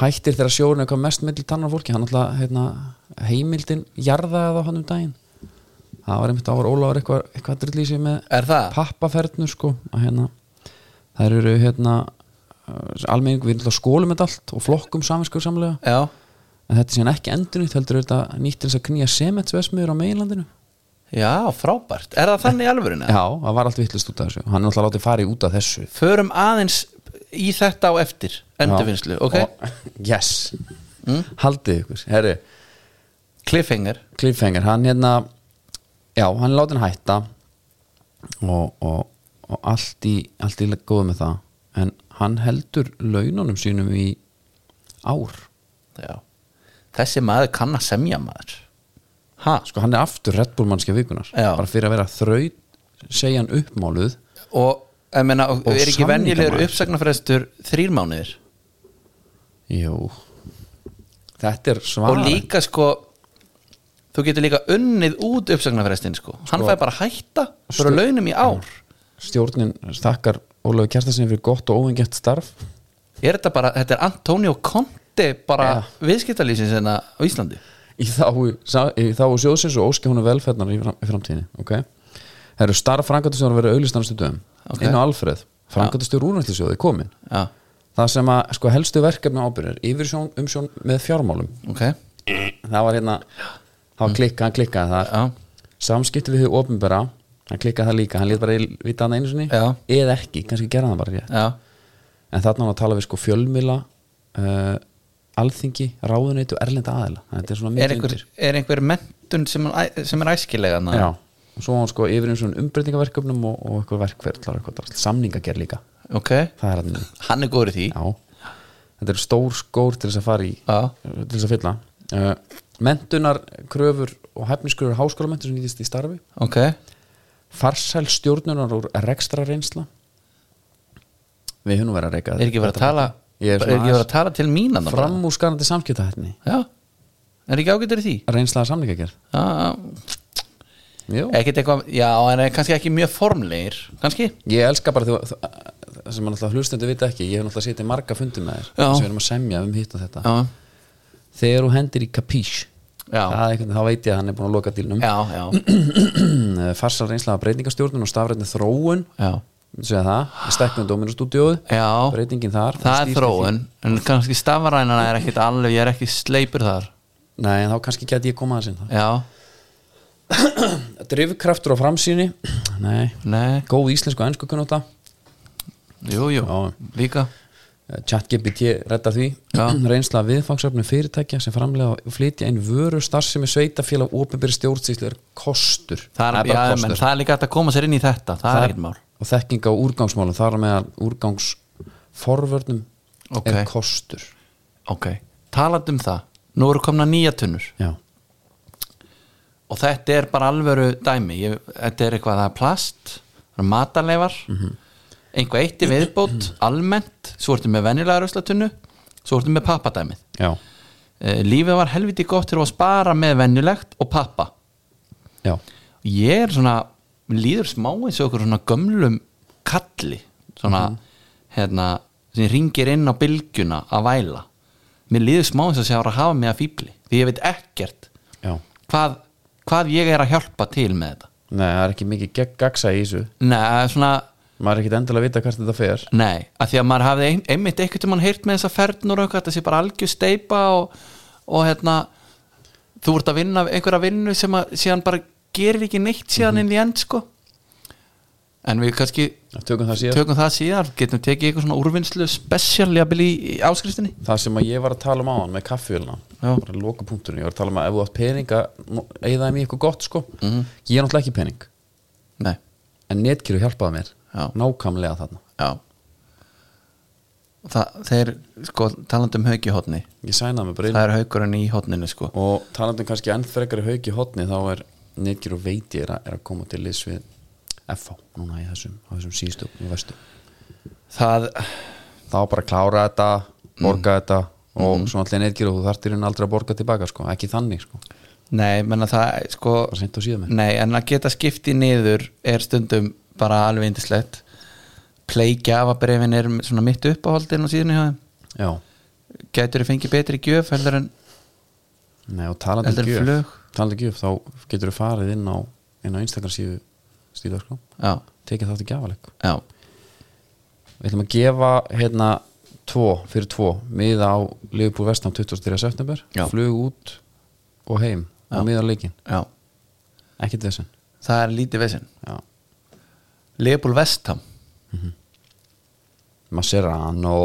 [SPEAKER 1] hættir þegar sjóðurinn er hvað mest milli tannar á fólki hann alltaf hérna, heimildin jarðaði þá hann um daginn það var einmitt ára Ólaður eitthvað, eitthvað drillísi með
[SPEAKER 2] Er það?
[SPEAKER 1] pappaferðnu sko að hérna þær eru hérna almenning við erum alltaf skólum með allt og flokkum saminskur samlega
[SPEAKER 2] Já,
[SPEAKER 1] en þetta er síðan ekki endurnýtt heldur er þetta nýtt til þess að knýja semetsvesmiður á meginlandinu
[SPEAKER 2] já, frábært Er það þannig í alvörinu?
[SPEAKER 1] já, það var allt vittlust út af þessu hann er alltaf látið farið út af þessu
[SPEAKER 2] Förum aðeins í þetta á eftir Endurvinnslu, ok? Mm?
[SPEAKER 1] og, yes haldið ykkur, herri
[SPEAKER 2] Cliffhanger
[SPEAKER 1] Cliffhanger, hann hérna já, hann er látið hætta og, og, og allt í allt í góð með það en hann heldur laununum sínum í ár
[SPEAKER 2] Já Þessi maður kann að semja maður Ha?
[SPEAKER 1] sko hann er aftur Red Bull mannskja vikunar
[SPEAKER 2] Já.
[SPEAKER 1] bara fyrir að vera þraut segja hann uppmáluð
[SPEAKER 2] Og, ég meina, og er ekki
[SPEAKER 1] samningamaður.
[SPEAKER 2] venjulegur uppsagnarfrestur þrýr mánuðir?
[SPEAKER 1] jú þetta er svara
[SPEAKER 2] og líka sko þú getur líka unnið út uppsagnarfrestin sko. hann fær bara hætta fyrir
[SPEAKER 1] Stu-
[SPEAKER 2] launum í ár
[SPEAKER 1] Mm. stjórnin stakkar Ólafur Kjartasin fyrir gott og óvingett starf
[SPEAKER 2] er þetta bara, þetta er Antonio Conte bara ja.
[SPEAKER 1] Ja.
[SPEAKER 2] viðskiptalýsins en á Íslandi
[SPEAKER 1] í þá, í þá sjóðsins og óski húnu velferðnar í, fram, í framtíðinni ok það eru starf frangatastjóður að vera auðlistanast í dögum
[SPEAKER 2] Ok.
[SPEAKER 1] inn á Alfreð, frangatastjóður úrnættisjóði komin
[SPEAKER 2] já,
[SPEAKER 1] það sem að sko, helstu verkefni ábyrðir yfir sjón, umsjón með fjármálum
[SPEAKER 2] ok,
[SPEAKER 1] það var hérna það var klikka, hann klikkaði það
[SPEAKER 2] Mm. já,
[SPEAKER 1] samskipti við þau ofinbera hann klikkaði það líka, hann lét bara í- vita hann einu sinni
[SPEAKER 2] Já.
[SPEAKER 1] eða ekki, kannski gera hann bara rétt
[SPEAKER 2] já
[SPEAKER 1] en þarna var að tala við sko fjölmila uh, alþingi, ráðuneytu og erlenda aðila þetta er svona
[SPEAKER 2] er
[SPEAKER 1] mikið
[SPEAKER 2] einhver,
[SPEAKER 1] undir.
[SPEAKER 2] er einhver mentun sem, hann æ- sem er æskilega þarna?
[SPEAKER 1] Já, og svo var hann sko yfir eins og umbreytingaverkefnum og, og eitthvað verkferðlar og eitthvað drasl. samningagerð líka,
[SPEAKER 2] ok,
[SPEAKER 1] það er hann inni.
[SPEAKER 2] hann er góður í því
[SPEAKER 1] já, þetta eru stór skór til þess að fara í
[SPEAKER 2] Já.
[SPEAKER 1] til þess að fylla uh, mentunar, kröfur og hefniskröfur háskólamöntu sem nýtist í starfi
[SPEAKER 2] ok,
[SPEAKER 1] farsæl stjórnunar og rekstra reynsla við höfum nú verið að reyka
[SPEAKER 2] er ekki verið að tala um
[SPEAKER 1] Ég er
[SPEAKER 2] er
[SPEAKER 1] svona
[SPEAKER 2] ekki verið að tala til mín þarna bara?
[SPEAKER 1] framúskarandi samskipta hérna
[SPEAKER 2] já, er ekki ágættur í því
[SPEAKER 1] reynslaða samlingagerð
[SPEAKER 2] já,
[SPEAKER 1] Jú.
[SPEAKER 2] ekkert eitthvað, já, en er kannski ekki mjög formlegir kannski,
[SPEAKER 1] ég elska bara þú, þú, það sem mann alltaf hlustendur vita ekki ég hef náttúrulega setið marga fundi með þér
[SPEAKER 2] Já.
[SPEAKER 1] sem við erum að semja um hitt og þetta
[SPEAKER 2] já
[SPEAKER 1] þegar þú hendir í kapísh
[SPEAKER 2] Já.
[SPEAKER 1] það er einhvern, þá veit ég að hann er búin að loka dílnum
[SPEAKER 2] já, já,
[SPEAKER 1] farsar reynslaða breytingastjórnun og stafrætni þróun
[SPEAKER 2] já,
[SPEAKER 1] segja það, ég stekkum dóminustúdíóð
[SPEAKER 2] já
[SPEAKER 1] breytingin þar
[SPEAKER 2] það er
[SPEAKER 1] snýst í því.
[SPEAKER 2] þróun en kannski stafrænana er ekkit alveg ég er ekki sleipur þar
[SPEAKER 1] nei, en þá kannski get ég koma að sinna
[SPEAKER 2] já,
[SPEAKER 1] drifkraftur og framsýni nei,
[SPEAKER 2] nei,
[SPEAKER 1] góð íslensku og ennsku kunnóta
[SPEAKER 2] jú, jú
[SPEAKER 1] Já.
[SPEAKER 2] líka,
[SPEAKER 1] chat GPT reddar því
[SPEAKER 2] Já.
[SPEAKER 1] reynsla viðfangsöfnum fyrirtækja sem framlega og flytja einn vöru starfsemi sveitafélag opinberi stjórnsýslu er kostur
[SPEAKER 2] það er, já,
[SPEAKER 1] bara
[SPEAKER 2] menn, það er líka hægt að koma sér inn í þetta það er ekkit mál
[SPEAKER 1] og þekking á úrgangsmálum þar með að úrgangsforvörnum
[SPEAKER 2] Ok.
[SPEAKER 1] er kostur
[SPEAKER 2] ok, talandi um það nú eru komna nýja tunnur
[SPEAKER 1] já,
[SPEAKER 2] og þetta er bara alvöru dæmi ég, þetta er eitthvað, það er plast það er matarleifar einhvað eitt í viðbót, almennt svo ertu með venjulega röslatunnu svo ertu með pappadæmið
[SPEAKER 1] já,
[SPEAKER 2] Eh, lífið var helviti gott til að spara með venjulegt og pappa
[SPEAKER 1] já
[SPEAKER 2] ég er svona, líður smá eins og okkur svona gömlum kalli svona, hérna sem ringir inn á bylgjuna að væla mér líður smá eins og sé að vera að hafa mig að fíbli því ég veit ekkert
[SPEAKER 1] já,
[SPEAKER 2] hvað, hvað ég er að hjálpa til með þetta
[SPEAKER 1] nei, það er ekki mikið gegn gagsa í þessu
[SPEAKER 2] Nei, svona,
[SPEAKER 1] maður er ekki endilega að vita hvert þetta fer
[SPEAKER 2] nei, að því að maður hafði ein, einmitt eitthvað mann heyrt með þessa fernur og eitthvað, þetta sé bara algjör steipa og, og hérna þú ert að vinna einhverja vinnu sem að síðan bara gerir ekki neitt síðan inn í end sko en við kannski
[SPEAKER 1] tökum það síðan
[SPEAKER 2] tökum það síðan getum tekið eitthvað svona úrvinnslu special jafnvel í, í áskriftinni
[SPEAKER 1] það sem að ég var að tala um á hann með kaffjölna
[SPEAKER 2] Já.
[SPEAKER 1] bara lokapunkturinn, ég var að tala um að ef þú átt pening að nú- eyða þeim í eitthvað gott sko
[SPEAKER 2] Mhm.
[SPEAKER 1] ég er náttúrulega ekki pening
[SPEAKER 2] nei,
[SPEAKER 1] en netkiru hjálpaði mér
[SPEAKER 2] Já.
[SPEAKER 1] nákvæmlega þarna
[SPEAKER 2] já það, þeir, sko, talandi um haukihotni
[SPEAKER 1] ég sænaði mig bara inn
[SPEAKER 2] það er haukurinn í hotninu, sko
[SPEAKER 1] og talandum kannski enn frekari hauk í hotni þá er Nidgjur og Veiti er að, er að koma til liðs við FH núna í þessum, á þessum síðustu og vestu
[SPEAKER 2] það,
[SPEAKER 1] þá bara klára þetta,
[SPEAKER 2] Mhm.
[SPEAKER 1] borga þetta og svona allir Nidgjur og þú þartir henni aldrei að borga tilbaka sko, ekki þannig sko bara
[SPEAKER 2] nei, menna það, sko
[SPEAKER 1] sent og síðan með
[SPEAKER 2] nei, en að geta skipti niður er stundum bara alveg indislegt pleikjafabrefin er svona mitt uppáhaldin og síðan hjá þeim
[SPEAKER 1] já,
[SPEAKER 2] gætur þið fengið betri gjöf heldur en
[SPEAKER 1] nei og talandi
[SPEAKER 2] Heldur
[SPEAKER 1] um gjöf
[SPEAKER 2] flug.
[SPEAKER 1] talandi um gjöf þá getur þú farið inn á inn á Instagram síðu stíla sko
[SPEAKER 2] já,
[SPEAKER 1] tekið þátt í gjafaleg
[SPEAKER 2] já,
[SPEAKER 1] við ætlum að gefa hérna tvo, fyrir tvo, miða á Liverpool Vestam 23. september
[SPEAKER 2] Já.
[SPEAKER 1] flug út og heim og
[SPEAKER 2] Já.
[SPEAKER 1] miða á leikin,
[SPEAKER 2] já
[SPEAKER 1] ekkert þessin
[SPEAKER 2] það er lítið vesinn
[SPEAKER 1] já.
[SPEAKER 2] Leopold Vestham
[SPEAKER 1] Maserano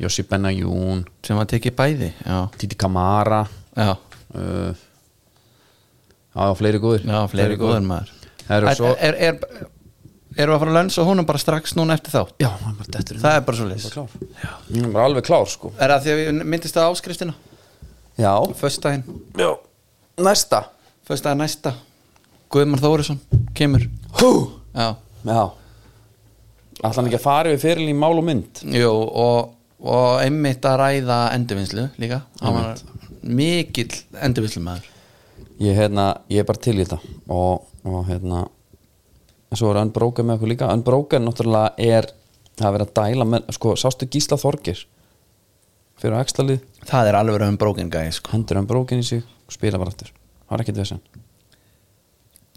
[SPEAKER 1] Jossi Benayoun
[SPEAKER 2] sem að tekið bæði já,
[SPEAKER 1] Titi Kamara
[SPEAKER 2] já,
[SPEAKER 1] uh, já, já, fleiri góðir
[SPEAKER 2] já fleiri góður maður
[SPEAKER 1] Herru,
[SPEAKER 2] er,
[SPEAKER 1] svo,
[SPEAKER 2] er, er, er, erum við að fara að lönsa honum bara strax núna eftir þá
[SPEAKER 1] já, hann er bara dettur inn.
[SPEAKER 2] það er bara svo leys
[SPEAKER 1] klár hann er bara alveg klár sko
[SPEAKER 2] er það því að við myndist það á áskriftina
[SPEAKER 1] já,
[SPEAKER 2] föstudaginn,
[SPEAKER 1] já. næsta
[SPEAKER 2] föstudaginn næsta Guðmar Þórisson kemur
[SPEAKER 1] hú
[SPEAKER 2] já,
[SPEAKER 1] já ætlan ekki að fara við fyrir í mál og mynd
[SPEAKER 2] Jú, og, og einmitt að ræða endurvinnslu líka hann var mikill endurvinnslu maður
[SPEAKER 1] ég, hérna, ég er bara til í þetta og, og hérna en svo er Unbroken með okkur líka Unbroken náttúrulega er það er verið að dæla með, sko, sástu Gísla Þorgir fyrir á ekstlalið
[SPEAKER 2] það er alveg um brókin gæði sko.
[SPEAKER 1] hendur Unbroken í sig og spila bara aftur það er ekkert vesen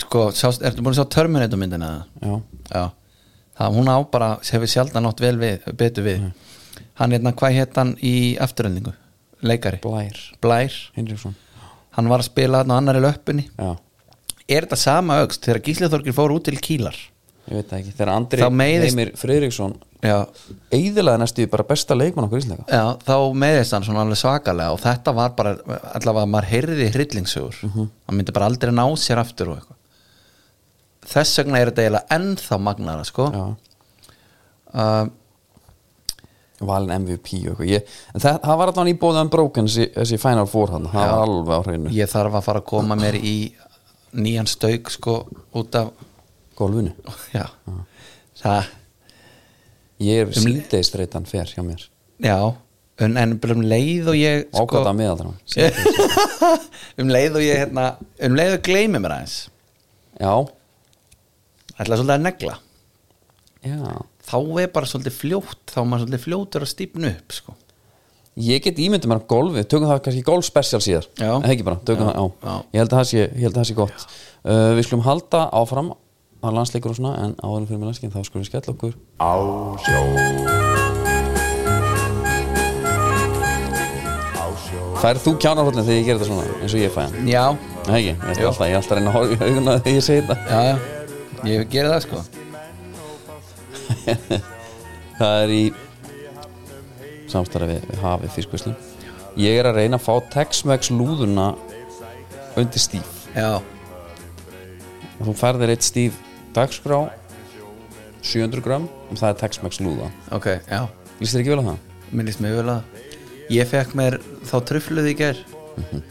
[SPEAKER 2] sko, sást, ertu búin að sjá Terminator myndina það?
[SPEAKER 1] já,
[SPEAKER 2] já, það hún á bara hefur sjaldan átt vel við, betur við hann hérna, hvað hétt hann í afturöndingu leikari,
[SPEAKER 1] Blær
[SPEAKER 2] Blær
[SPEAKER 1] Hinriksson
[SPEAKER 2] hann var að spila hann á annari löppunni
[SPEAKER 1] já,
[SPEAKER 2] er þetta sama augst þegar Gísli Þorgir fór út til Kílar
[SPEAKER 1] ég veit það ekki þegar Andri
[SPEAKER 2] Þá meiðist-
[SPEAKER 1] Heimir Friðriksson
[SPEAKER 2] já,
[SPEAKER 1] eigðilega næstu í bara besta leikmann okkur íslega
[SPEAKER 2] Já, þá meðist hann svona alveg svakalega og þetta var bara, allavega maður heyrði hryllingsugur, hann myndi bara aldrei ná sér aftur og eitthvað þess vegna er þetta eiginlega ennþá magnara sko
[SPEAKER 1] já,
[SPEAKER 2] uh,
[SPEAKER 1] valin MVP og eitthvað ég, en það, það var allan í bóðið Unbroken þessi, þessi Final Four hann, það var alveg á hreinu
[SPEAKER 2] ég þarf að fara að koma mér í nýjan stauk sko út af
[SPEAKER 1] golfinu
[SPEAKER 2] já, það
[SPEAKER 1] Ég
[SPEAKER 2] Um
[SPEAKER 1] er síðdeis þreytan fer hjá mér
[SPEAKER 2] já, en, en bara um leið og ég sko,
[SPEAKER 1] Ákvæða með aldra
[SPEAKER 2] um leið og ég hérna, um leið og gleymi mér aðeins
[SPEAKER 1] Já,
[SPEAKER 2] ætla svolítið að negla
[SPEAKER 1] já
[SPEAKER 2] þá er bara svolítið fljótt þá er maður svolítið fljótur að stípnu upp sko
[SPEAKER 1] Ég get ímyndið mér að golfi, tökum það kannski golf special síðar
[SPEAKER 2] Já.
[SPEAKER 1] En ekki bara, tökum
[SPEAKER 2] Já,
[SPEAKER 1] það, já.
[SPEAKER 2] já.
[SPEAKER 1] Ég held að það sé, ég held að það sé gott uh, Við skulum halda áfram á landsleikur og svona En áðurum fyrir með landsleikin þá skulum við skella okkur Á sjó Færð þú kjánarhóllin þegar ég gerir þetta svona eins og ég fæ hann?
[SPEAKER 2] já,
[SPEAKER 1] Nei, ekki, ég ætla alltaf, ég ætla alltaf að reyna að horfa í auguna þegar ég segi þetta
[SPEAKER 2] Já, já, ég gera það sko
[SPEAKER 1] Það er í samstarfi við hafið fiskvislu Ég er að reyna að fá Tex-Mex lúðuna undir stíf
[SPEAKER 2] Já,
[SPEAKER 1] og þú færðir eitt stíf dagskrá 700 gram og það er Tex-Mex lúða
[SPEAKER 2] ok, já
[SPEAKER 1] Lýst þér ekki vel á það?
[SPEAKER 2] Mér líst mér vel að það Ég fekk mér þá trufluð í ger Mhm.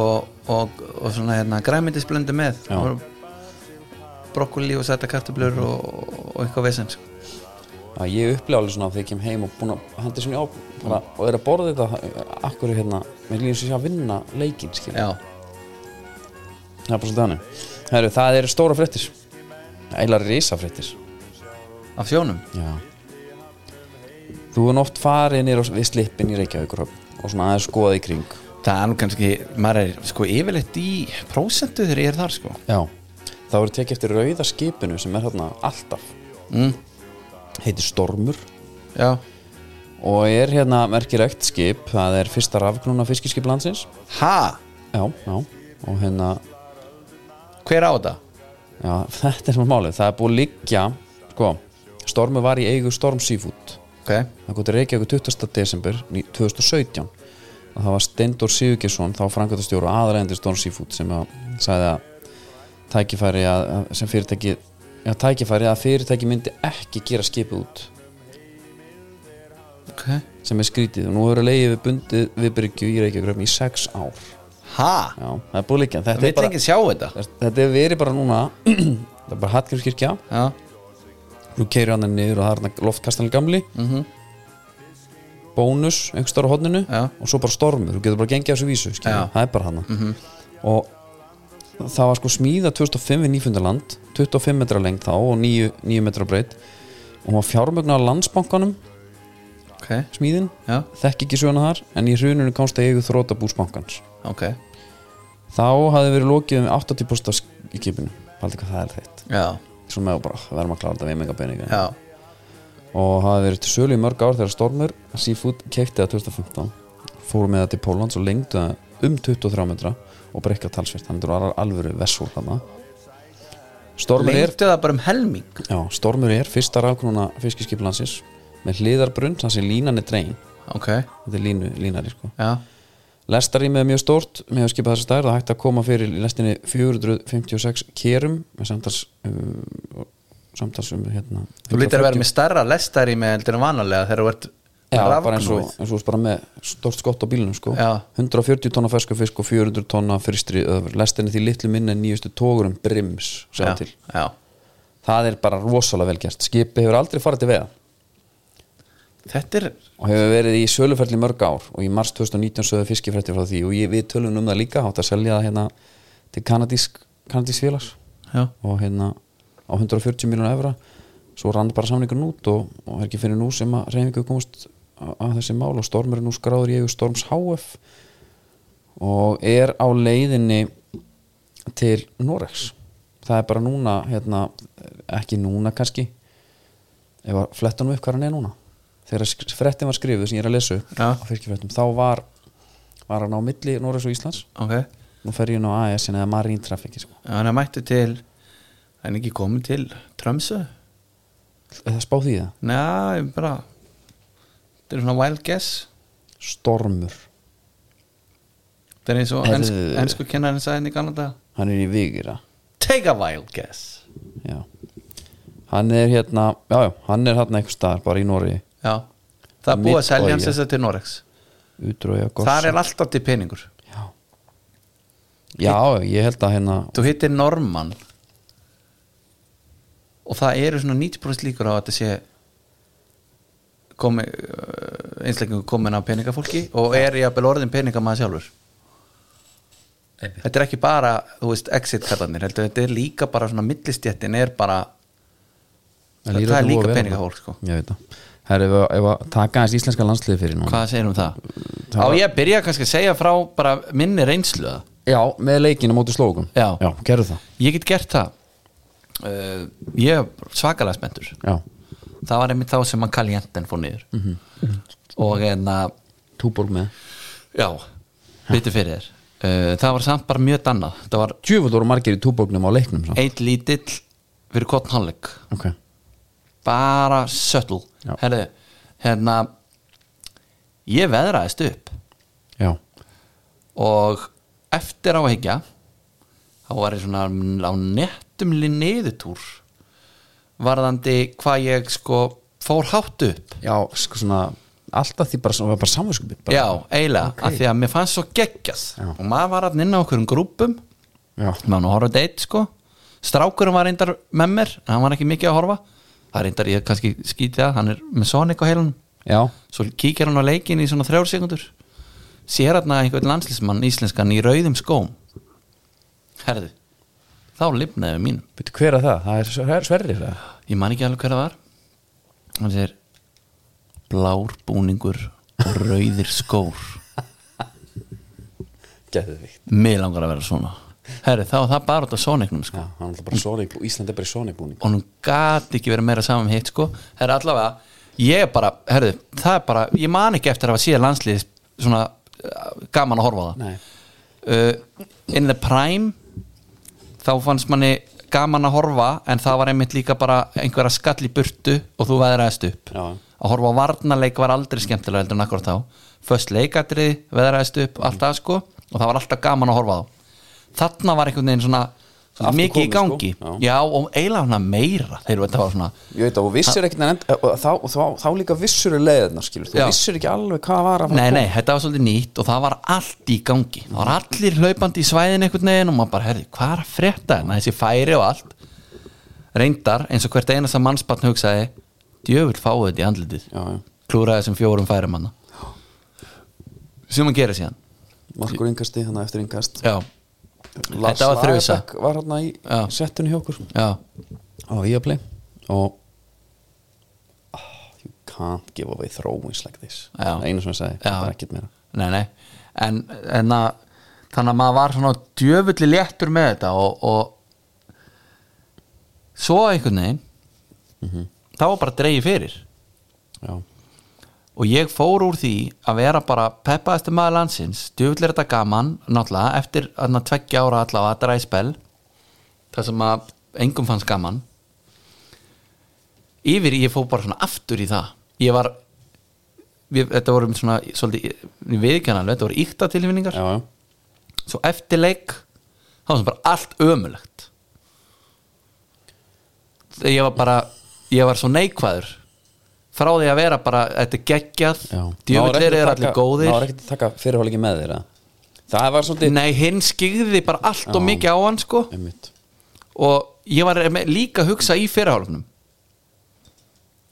[SPEAKER 2] og, og, og svona hérna græmyndisblöndu með
[SPEAKER 1] Já.
[SPEAKER 2] Brokkoli og sæta kartöblur og, og eitthvað vesend sko.
[SPEAKER 1] Að ég upplega alveg svona þegar ég kem heim og búin að handa svona í á bara, og er að borða þetta akkur hérna, mér líður sér að vinna leikinn skilur.
[SPEAKER 2] Já,
[SPEAKER 1] það er bara svolítið hannig Heru, Það eru stóra fréttir eiginlega risafréttir
[SPEAKER 2] af sjónum
[SPEAKER 1] Já Þú er oft farið nýr við slippin í Reykjavíkur og svona aðeins skoða í kring
[SPEAKER 2] Það er nú kannski, maður er sko yfirleitt í prósentu þegar ég er þar sko
[SPEAKER 1] Já Það voru tekið eftir rauða skipinu sem er hérna alltaf
[SPEAKER 2] mm.
[SPEAKER 1] heitir Stormur
[SPEAKER 2] Já,
[SPEAKER 1] og er hérna merkilegt skip það er fyrsta rafknúna fiskiskip landsins
[SPEAKER 2] ha,
[SPEAKER 1] Já, já og hérna
[SPEAKER 2] hver á þetta?
[SPEAKER 1] já, þetta er maður málið það er búið að liggja sko, Stormur var í eigu Storm Seafood
[SPEAKER 2] Ok,
[SPEAKER 1] það kom til Reykjavík 20. desember í 2017 og það var Steindor Sigurgesson þá framkvæmtastjóru aðræðandi Storm Seafood sem að sagði að tækifæri að, að- sem fyrirtæki að tækifæri að fyrirtæki myndi ekki gera skipið út
[SPEAKER 2] ok
[SPEAKER 1] sem er skrítið og nú hefur leiðið við bundið við Bryggju í Reykjavík í sex ár
[SPEAKER 2] ha,
[SPEAKER 1] já, það er búið líka þetta,
[SPEAKER 2] vill
[SPEAKER 1] er bara-
[SPEAKER 2] enginn sjá þetta
[SPEAKER 1] þetta er verið bara núna það er bara Hallgrímskirkja
[SPEAKER 2] já,
[SPEAKER 1] nú keiri hann niður og það er þarna loftkastan gamli
[SPEAKER 2] Mhm.
[SPEAKER 1] bónus einhver starf á hodninu
[SPEAKER 2] Já.
[SPEAKER 1] og svo bara stormur, þú getur bara gengið að þessu vísu skilur.
[SPEAKER 2] Já. Mhm.
[SPEAKER 1] það er bara hann og það var sko smíða 2005 við Nýfundaland 25 metra lengt þá og 9, 9 metra breytt og hún var fjármögnu á landsbankanum
[SPEAKER 2] ok,
[SPEAKER 1] smíðin,
[SPEAKER 2] já,
[SPEAKER 1] þekki ekki söguna þar en í hruninu komst að eigu þrótabúsbankans
[SPEAKER 2] ok
[SPEAKER 1] þá hafði verið lokið um 80% af sk- í kipinu, haldi hvað það er þeitt
[SPEAKER 2] já,
[SPEAKER 1] svona með og bara, verðum að klára þetta við mega peninga
[SPEAKER 2] já,
[SPEAKER 1] og hafði verið til sölu í mörg ár þegar Stormur Seafood keipti það 2015 fórum með það til Pólans og lengdu það um 23 metra og brekka talsvert þannig að það var alvöru vessúl þarna Stormur er,
[SPEAKER 2] lengtu það bara um helming
[SPEAKER 1] já, Stormur er fyrsta rafknúna fiskiskip landsins með hliðarbrunn, þannig að línan er dreyin
[SPEAKER 2] ok,
[SPEAKER 1] þetta er línu, línari sko
[SPEAKER 2] já,
[SPEAKER 1] Lestarýmið er mjög stórt með að skipa þessa stærð og hægt að koma fyrir í lestinni 456 kerum með samtals um, samtals um hérna
[SPEAKER 2] þú lítir að vera með stærra lestari með heldur en vanalega þegar þú ert
[SPEAKER 1] Já, bara eins og,
[SPEAKER 2] rafknúið.
[SPEAKER 1] eins og bara með stórt skott á bílunum sko
[SPEAKER 2] Já.
[SPEAKER 1] 140 tonna fersku fisk og 400 tonna fristri öður lestinni því litlu minni en nýjustu tógurum brims sjá til
[SPEAKER 2] já, já.
[SPEAKER 1] það er bara rosalega vel gert skipi hefur aldrei farið til veða
[SPEAKER 2] Þetta er
[SPEAKER 1] og hefur verið í söluferli í mörg ár og í mars 2019 sögðu fiskifrætti frá því og ég, við tölum um það líka hátt að selja það hérna til kanadísk, kanadísk félags
[SPEAKER 2] já,
[SPEAKER 1] og hérna á 140 miljónu evra svo rann bara samningun út og, og er ekki fyrir nú sem að reyningu komast að, að þessi mál og Storm er nú skráður í eigu Storms HF og er á leiðinni til Norex það er bara núna hérna, ekki núna kannski ef að flettunum upp hvað hann er núna þegar sk- fréttin var skrifuð sem ég er að lesa upp
[SPEAKER 2] Já.
[SPEAKER 1] á fyrkifréttum þá var, var hann á milli Norex og Íslands
[SPEAKER 2] ok Já,
[SPEAKER 1] nú fer ég nú AES eða Marine Traffic sko.
[SPEAKER 2] hann er mættu til hann er ekki komið til Trömsu
[SPEAKER 1] er það spáð því það?
[SPEAKER 2] Næ, ég bara Þetta er svona wild guess
[SPEAKER 1] Stormur
[SPEAKER 2] Þetta er eins og
[SPEAKER 1] Heyrðu.
[SPEAKER 2] ensku, ensku kennarinn sagði henni í Kanada
[SPEAKER 1] hann er í Vigera
[SPEAKER 2] Take a wild guess
[SPEAKER 1] já. hann er hérna já, já, hann er hérna einhver staðar bara í Nóri
[SPEAKER 2] Já, það er búið að selja hans
[SPEAKER 1] Mitt-
[SPEAKER 2] þess að til Norex
[SPEAKER 1] Útrúja
[SPEAKER 2] Þar
[SPEAKER 1] Gorsa
[SPEAKER 2] er alltaf til peningur
[SPEAKER 1] já. já, ég held að hérna
[SPEAKER 2] Þú hittir Norman og það eru svona 90% líkur á að þetta sé komi, einsleikingu komin af peningafólki og er ég að bel orðin peningamaður sjálfur Þetta er ekki bara, þú veist, exit kallanir heldur, þetta er líka bara svona millistjættin er bara það,
[SPEAKER 1] líður
[SPEAKER 2] það
[SPEAKER 1] allir
[SPEAKER 2] er
[SPEAKER 1] voða
[SPEAKER 2] líka
[SPEAKER 1] vel
[SPEAKER 2] peningafólk sko.
[SPEAKER 1] ég veit það Herra, ef að- ef að taka aðeins íslenska landsliði fyrir núna
[SPEAKER 2] Hvað segir um það? Á ég að byrja kannski að segja frá bara minni reynslu það
[SPEAKER 1] Já, með leikinu móti slókum
[SPEAKER 2] Já.
[SPEAKER 1] já gerðu það
[SPEAKER 2] Ég get gert það uh, Ég er svakalega spenntur
[SPEAKER 1] já.
[SPEAKER 2] Það var einmitt þá sem hann kalli jenten fór niður Og en að
[SPEAKER 1] Túborg með
[SPEAKER 2] Já, byttu fyrir þér uh, Það var samt bara mjög dannað Það var
[SPEAKER 1] Tjöfull voru margir í túborgnum á leiknum samt.
[SPEAKER 2] eitt lítill fyrir kottnálleg
[SPEAKER 1] Ok
[SPEAKER 2] Bara sötl
[SPEAKER 1] Já.
[SPEAKER 2] Herðu, hérna Ég veðraðist upp
[SPEAKER 1] Já,
[SPEAKER 2] Og eftir á að higgja Þá var ég svona á nettum niðurtúr Varðandi hvað ég sko fór hátt upp
[SPEAKER 1] já sko svona Alltaf því bara, svona- bara samvinskupið bara.
[SPEAKER 2] Já, eiginlega, af því að mér fannst svo geggjast
[SPEAKER 1] Já.
[SPEAKER 2] og maður var hann inn á okkur um grúpum
[SPEAKER 1] já
[SPEAKER 2] maður nú horfði eitt sko strákurinn var reyndar með mér en hann var ekki mikið að horfa það er reyndar ég kannski skýti að hann er með Sonic á heilunum
[SPEAKER 1] Já,
[SPEAKER 2] svo kíkir hann á leikin í svona þrjár sekundur sér hann að einhvern landslísmann íslenskan í rauðum skóm herðu þá lifnaði við mín
[SPEAKER 1] veitu hver að það? Það er Sver- Sverrir það?
[SPEAKER 2] ég man ekki alveg hver það var hann sér blár búningur og rauðir skór
[SPEAKER 1] Geðvikt
[SPEAKER 2] Mér langar að vera svona Herri, þá var það bara út af Sonicnum sko.
[SPEAKER 1] Já, hann er bara Sonic, Ísland er bara í Sonic búning
[SPEAKER 2] og hún gati ekki verið meira saman hitt sko. Herri, allavega ég er bara, herri, það er bara ég man ekki eftir að hafa síðan landsliðis svona uh, gaman að horfa á
[SPEAKER 1] Nei,
[SPEAKER 2] það uh, In the Prime þá fannst manni gaman að horfa en það var einmitt líka bara einhverja skall í burtu og þú veðraðist upp
[SPEAKER 1] já,
[SPEAKER 2] að horfa á varnarleik var aldrei skemmtilega heldur en akkur þá först leikadrið, veðraðist upp, allt það sko og það var alltaf gaman að horfa á þarna var einhvern veginn svona
[SPEAKER 1] Aftur
[SPEAKER 2] mikið í
[SPEAKER 1] komið,
[SPEAKER 2] gangi
[SPEAKER 1] sko. Já.
[SPEAKER 2] já. og eiginlega svona meira þegar þetta var svona
[SPEAKER 1] ég veit að þú vissir ekkert en, og þá, og þá, þá líka vissur leiðirnar skilur, þú
[SPEAKER 2] Já.
[SPEAKER 1] vissir ekki alveg hvað var að fara
[SPEAKER 2] Nei,
[SPEAKER 1] að koma.
[SPEAKER 2] nei, þetta var svolítið nýtt og það var allt í gangi Það var allir hlaupandi í svæðin einhvern veginn og maður bara, herði, hvað er að frétta hérna þessi færi og allt Reyndar, eins og hvert einasta mannsbarn hugsaði Djöfull fáið þetta í andlitið
[SPEAKER 1] Já, já.
[SPEAKER 2] Klúraði þessum fjórum færum hana Sem hann gerir síðan
[SPEAKER 1] markur yngasti, þannig að eftir yngast
[SPEAKER 2] Já, Þetta var þrusa.
[SPEAKER 1] Lagerbäck var hérna í
[SPEAKER 2] Já.
[SPEAKER 1] settunni hjá okkur
[SPEAKER 2] já,
[SPEAKER 1] á Viaplay og Ah, you can't give away throwings like this
[SPEAKER 2] Já.
[SPEAKER 1] Það er einu sem ég sagði,
[SPEAKER 2] Já.
[SPEAKER 1] það er ekkert meira
[SPEAKER 2] nei, nei En, en að, þannig að maður var svona djöfulli léttur með þetta og, og svo einhvern veginn
[SPEAKER 1] Mhm.
[SPEAKER 2] þá var bara dreigið fyrir
[SPEAKER 1] Já,
[SPEAKER 2] og ég fór úr því að vera bara peppaðasti maður landsins djúvill er þetta gaman, náttúrulega eftir þarna tveggja ára allavega, þetta er æspel það sem að engum fannst gaman yfir í ég fór bara svona aftur í það ég var við, þetta voru svona, svolítið viðkjana, þetta voru íkta tilfinningar
[SPEAKER 1] já, já,
[SPEAKER 2] svo eftir leik þá var það bara allt ömulegt Þegar ég var bara ég var svo neikvæður frá því að vera bara þetta er geggjað
[SPEAKER 1] já. Náður
[SPEAKER 2] djöfullir
[SPEAKER 1] ekkert
[SPEAKER 2] eru
[SPEAKER 1] að
[SPEAKER 2] allir
[SPEAKER 1] taka- Náður
[SPEAKER 2] góðir
[SPEAKER 1] ekkert að taka fyrirháleiki með þér eða? Það var svolítið
[SPEAKER 2] nei hinn skýrði bara allt og
[SPEAKER 1] Já.
[SPEAKER 2] mikið á hann sko
[SPEAKER 1] Einmitt.
[SPEAKER 2] og ég var með- líka að hugsa í fyrirhálfnum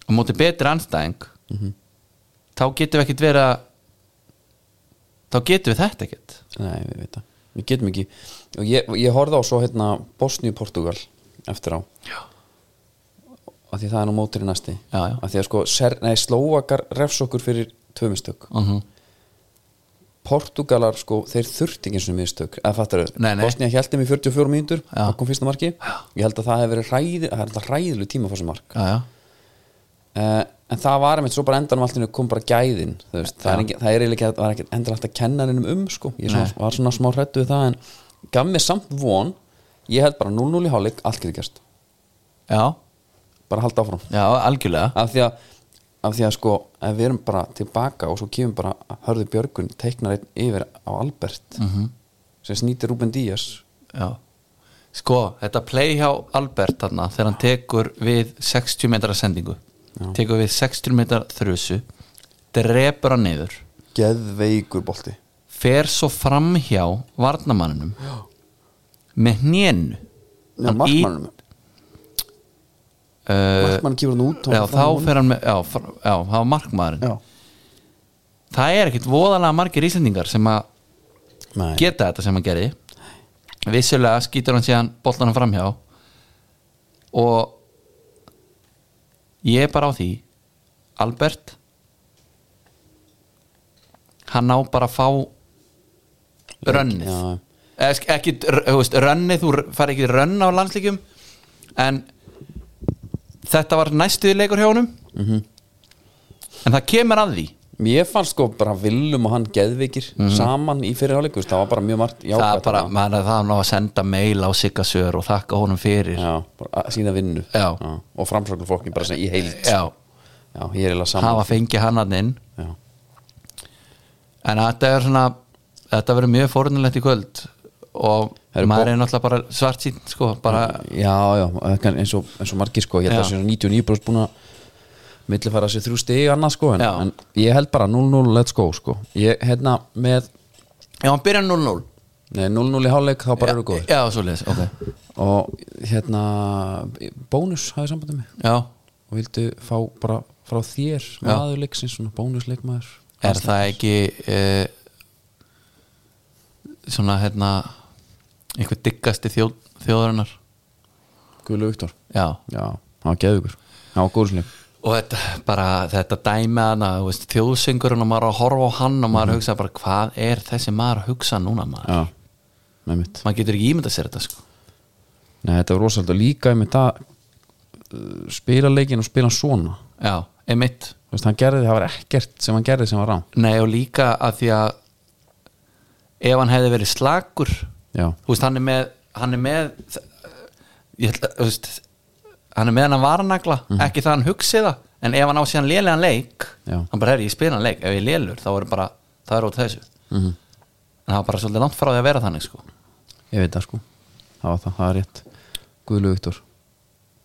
[SPEAKER 2] og móti betri anstæðing
[SPEAKER 1] Mhm.
[SPEAKER 2] þá getum við ekkert vera þá getum við þetta ekkert
[SPEAKER 1] Nei, við veit það Við getum ekki Og ég, ég horfði á svo hérna Bosníu-Portugal eftir á
[SPEAKER 2] já,
[SPEAKER 1] af því það er nú mótur í næsti
[SPEAKER 2] Já, já.
[SPEAKER 1] af því að sko ser, nei, Slóakar refs okkur fyrir tvö mistök
[SPEAKER 2] uh
[SPEAKER 1] Portugalar sko, þeir þurfti ekki eins og mistök eða fattar þau,
[SPEAKER 2] Nei, nei.
[SPEAKER 1] Bosnía held þeim í 44 mínútur
[SPEAKER 2] Já.
[SPEAKER 1] það kom fyrsta marki ég held að það hefur verið hræði, það er alltaf hræðilu tíma fór sem mark uh,
[SPEAKER 2] já, já,
[SPEAKER 1] Eh, en það var einmitt svo bara endanum allinu kom bara gæðin þú veist, það, er
[SPEAKER 2] Já.
[SPEAKER 1] ekki, það er eiginlega ekki, það er ekki endan alltaf kennaninum um sko, ég
[SPEAKER 2] Nei.
[SPEAKER 1] svona, var svona smá hrættu við það en gaf mér samt von ég held bara 0-0 í hálfleik, allt getur gerst
[SPEAKER 2] já,
[SPEAKER 1] bara halda áfram
[SPEAKER 2] já algjörlega
[SPEAKER 1] af því að af því að sko, ef við erum bara tilbaka og svo kemur bara hörðu Björgun teiknar einn yfir á Albert
[SPEAKER 2] Mhm.
[SPEAKER 1] -hmm. sem snýtir Ruben Díaz
[SPEAKER 2] Já Sko, þetta play hjá Albert þarna þegar hann tekur við 60 metra sendingu tekur við 60 metra þrjusu drepur hann niður
[SPEAKER 1] geðveikur bolti
[SPEAKER 2] fer svo fram hjá varnamanninum Já. með hnénu
[SPEAKER 1] Nei, markmannum,
[SPEAKER 2] uh,
[SPEAKER 1] markmann kýfur hann út og hann
[SPEAKER 2] Já, þá
[SPEAKER 1] fram á honum.
[SPEAKER 2] fer hann með Já, fr- já það var markmaðurinn
[SPEAKER 1] Já.
[SPEAKER 2] Það er ekkit voðalega margir íslendingar sem að
[SPEAKER 1] Nei.
[SPEAKER 2] geta þetta sem hann gerði vissulega skýtur hann síðan boltanum framhjá og ég er bara á því Albert hann á bara að fá rönnið
[SPEAKER 1] Já.
[SPEAKER 2] Eða sk- ekki, r- þú veist, rönnið þú fari ekki rönn á landslíkjum en þetta var næstuði leikur hjá honum -hmm.
[SPEAKER 1] Mhm.
[SPEAKER 2] en það kemur að því
[SPEAKER 1] mér fannst sko bara Willum og hann geðveikir saman í fyrirháleik það var bara mjög margt
[SPEAKER 2] Mhm. það er
[SPEAKER 1] jákvætt
[SPEAKER 2] bara,
[SPEAKER 1] þarna.
[SPEAKER 2] maður er það ná að senda mail á Siggasör og þakka honum fyrir
[SPEAKER 1] já, bara að sína vinnu
[SPEAKER 2] Já.
[SPEAKER 1] og framsöknu fólkin bara sem í heild
[SPEAKER 2] já,
[SPEAKER 1] Já, ég er eiginlega saman
[SPEAKER 2] hafa fengið hann hann inn
[SPEAKER 1] Já.
[SPEAKER 2] en þetta er svona þetta verður mjög fórnulegt í kvöld og
[SPEAKER 1] Herru,
[SPEAKER 2] maður
[SPEAKER 1] Bob-
[SPEAKER 2] er náttúrulega bara svart sín sko, bara,
[SPEAKER 1] já, já, kann- eins og, eins og margir sko, ég held
[SPEAKER 2] Já.
[SPEAKER 1] að það sé 99 bróst búin að millifæra sér þrjú stig annað sko en,
[SPEAKER 2] Já.
[SPEAKER 1] en ég held bara 0-0 let's go sko ég, hérna með,
[SPEAKER 2] já, hann byrjar 0-0
[SPEAKER 1] nei 0-0 í hálfleik þá bara eru góðir
[SPEAKER 2] já, svo leis, ok
[SPEAKER 1] og hérna bónus hafið sambandið mig
[SPEAKER 2] já,
[SPEAKER 1] og vildu fá bara frá þér maðurleiksins, svona bónusleikmaður
[SPEAKER 2] er það ekki e, svona hérna einhver diggasti þjóð, þjóðarinnar
[SPEAKER 1] Guðlu Viktor,
[SPEAKER 2] já,
[SPEAKER 1] já, það var geðugur það var góðsleik
[SPEAKER 2] og þetta, bara, þetta dæmi hana, þú veist, þjóðsingurinn og maður er að horfa á hann og maður mm hugsa bara hvað er þessi maður að hugsa núna maður
[SPEAKER 1] Mhm. já, með mitt
[SPEAKER 2] maður getur ekki ímynda sér þetta sko
[SPEAKER 1] Nei, þetta var rosalega og líka með það spila leikinn og spila hann svona
[SPEAKER 2] já, emitt,
[SPEAKER 1] Þú veist, hann gerði, það var ekkert sem hann gerði sem var rán
[SPEAKER 2] nei og líka að því að ef hann hefði verið slakur
[SPEAKER 1] já,
[SPEAKER 2] þú veist, hann er með hann er með ég held að, þú veist hann er með hann að varanagla,
[SPEAKER 1] Mhm.
[SPEAKER 2] ekki það hann hugsi það en ef hann á síðan lélegan leik
[SPEAKER 1] Já.
[SPEAKER 2] hann bara, herri, ég spila hann leik, ef ég er lélur þá er bara, það er út þessu mm -hmm. en það var bara svolítið langt frá því að vera þannig sko
[SPEAKER 1] ég veit það sko það var það, það er rétt Guðlu Viktor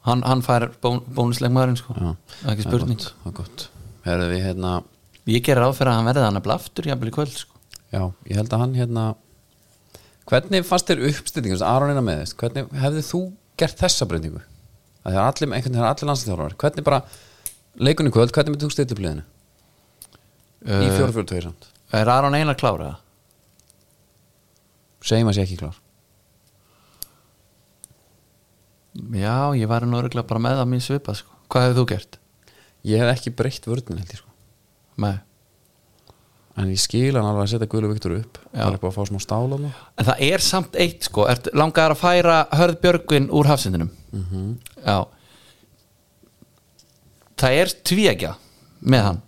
[SPEAKER 2] hann, hann fær bón, bónusleikmaðurinn sko.
[SPEAKER 1] Já.
[SPEAKER 2] það er ekki spurning
[SPEAKER 1] gott, það er gott Herðu við hérna
[SPEAKER 2] ég gerir ráð fyrir að hann verði hann að blaftur jafnvel í kvöld sko.
[SPEAKER 1] Já, ég held að hann hérna Hvernig fannst þér uppstendingum Aronina með þess, hvernig hefði þú gert þessa breytingu? Það er allir, einhvern veginn það er allir landslíðþjálfar Hvernig bara, leikunni kvöld, hvernig með þú steytubliðinu? Uh, í
[SPEAKER 2] Eh,
[SPEAKER 1] 442 samt
[SPEAKER 2] er Aron Einar klára?
[SPEAKER 1] Segjum að sé ekki klár
[SPEAKER 2] já, ég var nú örgulega bara með það mín svipa sko. hvað hefur þú gert?
[SPEAKER 1] Ég hef ekki breytt vörðin held ég sko
[SPEAKER 2] Nei.
[SPEAKER 1] En ég skil hann alveg að setja Guðlu Viktor upp
[SPEAKER 2] Já.
[SPEAKER 1] Það er bara að fá smá stál á mig
[SPEAKER 2] en það er samt eitt sko er, langar að færa Hörð Björgvin úr hafsendinum já það er tvíækja með hann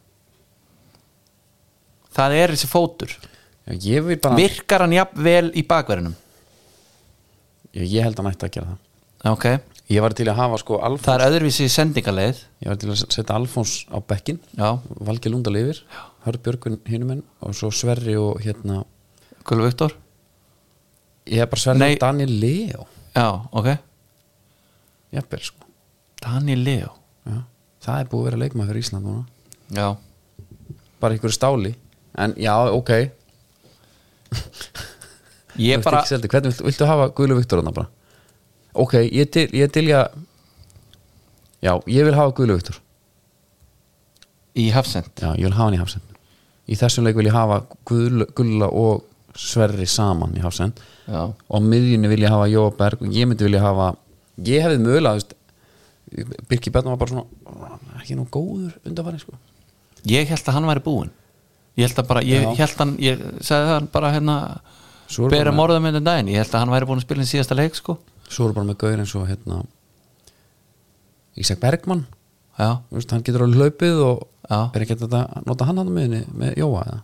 [SPEAKER 2] það er þessi fótur
[SPEAKER 1] Já, Ég vil bara
[SPEAKER 2] virkar hann jafn vel í bakverðinum
[SPEAKER 1] Já, Ég held hann ætti að gera það
[SPEAKER 2] ok,
[SPEAKER 1] Ég var til að hafa sko Alfons
[SPEAKER 2] það er öðruvísi sendingaleið
[SPEAKER 1] Ég var til að setja Alfons á bekkin
[SPEAKER 2] já,
[SPEAKER 1] Valgi Lundal yfir Hörð Björgun hinum enn Og svo Sverri og hérna
[SPEAKER 2] Gullu Viktor
[SPEAKER 1] Ég hef bara Sverri
[SPEAKER 2] Nei.
[SPEAKER 1] og Daniel Leo
[SPEAKER 2] já, ok,
[SPEAKER 1] Jafnvel sko
[SPEAKER 2] Daniel Leo
[SPEAKER 1] Já. Það er búið að vera leikmaður fyrir Ísland núna
[SPEAKER 2] já,
[SPEAKER 1] Bara einhverju stáli En já, ok
[SPEAKER 2] ég
[SPEAKER 1] Þú ert
[SPEAKER 2] bara
[SPEAKER 1] ekki seldur. Hvernig viltu, viltu hafa Guðlu Viktor hann bara Ok, ég til, ég til ég Já, ég vil hafa Guðlu Viktor
[SPEAKER 2] í hafsend
[SPEAKER 1] Já, ég vil hafa hann í Hafsend Í þessum leik vil ég hafa Guðla, Guðla og Sverri saman í Hafsend
[SPEAKER 2] já,
[SPEAKER 1] Og á miðjunni vil ég hafa Jóa Berg og ég myndi vil ég hafa Ég hefði mögulega þú veist, Birki Bjarnar var bara svona "Ó, ekki nú góður undanfæri sko.
[SPEAKER 2] ég held að hann væri búinn ég held að bara, ég
[SPEAKER 1] Já.
[SPEAKER 2] held hann ég sagði það bara hérna
[SPEAKER 1] Svo er
[SPEAKER 2] bera
[SPEAKER 1] bara með-
[SPEAKER 2] morðum undan daginn, ég held að hann væri búin að spila í síðasta leik sko,
[SPEAKER 1] Svo eru bara með gauður eins og hérna Ísak Bergmann
[SPEAKER 2] já,
[SPEAKER 1] Þú veist, hann getur alveg hlaupið og
[SPEAKER 2] Já.
[SPEAKER 1] er ekki hægt að nota hann hann á miðunni með Jóa eða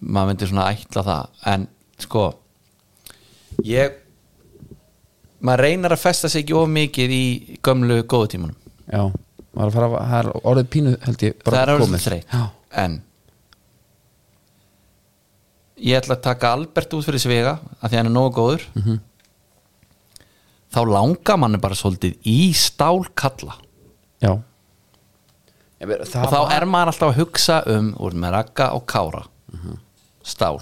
[SPEAKER 2] maður myndi svona ætla það en sko ég maður reynar að festa sig ekki of mikið í gömlu góðu tímunum
[SPEAKER 1] Já, maður er að fara að, það er orðið pínu held ég bara
[SPEAKER 2] það er
[SPEAKER 1] komið.
[SPEAKER 2] alveg þreytt
[SPEAKER 1] Já,
[SPEAKER 2] en ég ætla að taka Albert út fyrir svega af því hann er nógu góður
[SPEAKER 1] Mhm.
[SPEAKER 2] þá langar manni bara svolítið í stálkalla
[SPEAKER 1] já Ég meina, það
[SPEAKER 2] og þá
[SPEAKER 1] var-
[SPEAKER 2] er maður alltaf að hugsa um úr með Ragga og Kára
[SPEAKER 1] Mhm.
[SPEAKER 2] stál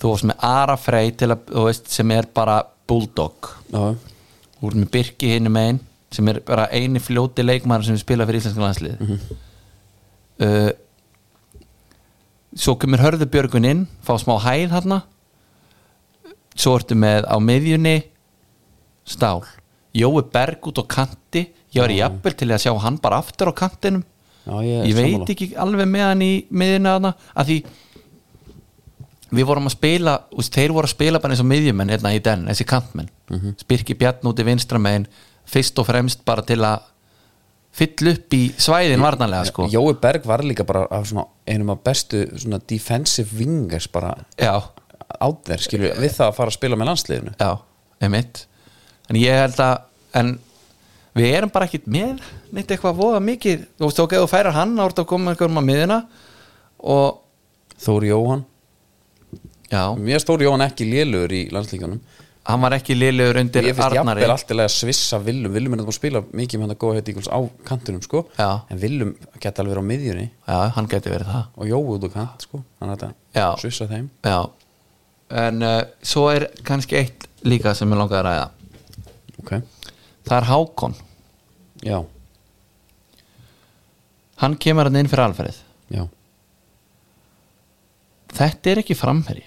[SPEAKER 2] þú veist með Ara Frey til að, þú veist, sem er bara bulldog
[SPEAKER 1] Já,
[SPEAKER 2] úr með Birki hinu megin sem er bara eini fljóti leikmaður sem spila fyrir íslenska landslið uh, svo kemur hörðu Björgun inn fá smá hæð þarna svo ertu með á miðjunni stál Jói Berg út á kanti ég var í jafnvel til að sjá hann bara aftur á kantinum
[SPEAKER 1] já, ég, er
[SPEAKER 2] ég veit
[SPEAKER 1] sammála.
[SPEAKER 2] ekki alveg með hann í miðina þarna að því við vorum að spila úst, þeir voru að spila bara eins og miðjumenn hérna í den, þessi kantmenn
[SPEAKER 1] Mhm.
[SPEAKER 2] Spyrki Bjarn út í vinstra megin fyrst og fremst bara til að fyll upp í svæðin varnarlega sko.
[SPEAKER 1] Jói Berg var líka bara af svona einum af bestu svona defensive wingers bara
[SPEAKER 2] já,
[SPEAKER 1] át þeir skilju við það að fara að spila með landsliðinu
[SPEAKER 2] já, emitt en ég held að en við erum bara ekkit með neitt eitthvað voða mikið, þú veist ok, þú færir hann árið að koma einhverjum að miðina og
[SPEAKER 1] Þóri Jóhann,
[SPEAKER 2] já,
[SPEAKER 1] mér stóri Jóhann ekki lélugur í landslíkunum
[SPEAKER 2] hann var ekki liðlegur undir
[SPEAKER 1] Ég finnst
[SPEAKER 2] Arnari
[SPEAKER 1] jafnvel alltaf að svissa Villum Villum er þetta búin að spila mikið með hann að góða heit á kantinum sko
[SPEAKER 2] Já.
[SPEAKER 1] en Villum geta alveg verið á miðjunni
[SPEAKER 2] Já, hann gæti verið það
[SPEAKER 1] og Jói út á kant sko þannig að
[SPEAKER 2] Já.
[SPEAKER 1] þetta svissa þeim
[SPEAKER 2] Já En uh, svo er kannski eitt líka sem ég langaði að ræða
[SPEAKER 1] okay.
[SPEAKER 2] Það er Hákon
[SPEAKER 1] Já,
[SPEAKER 2] Hann kemur hann inn fyrir alferðið
[SPEAKER 1] já
[SPEAKER 2] Þetta er ekki framherji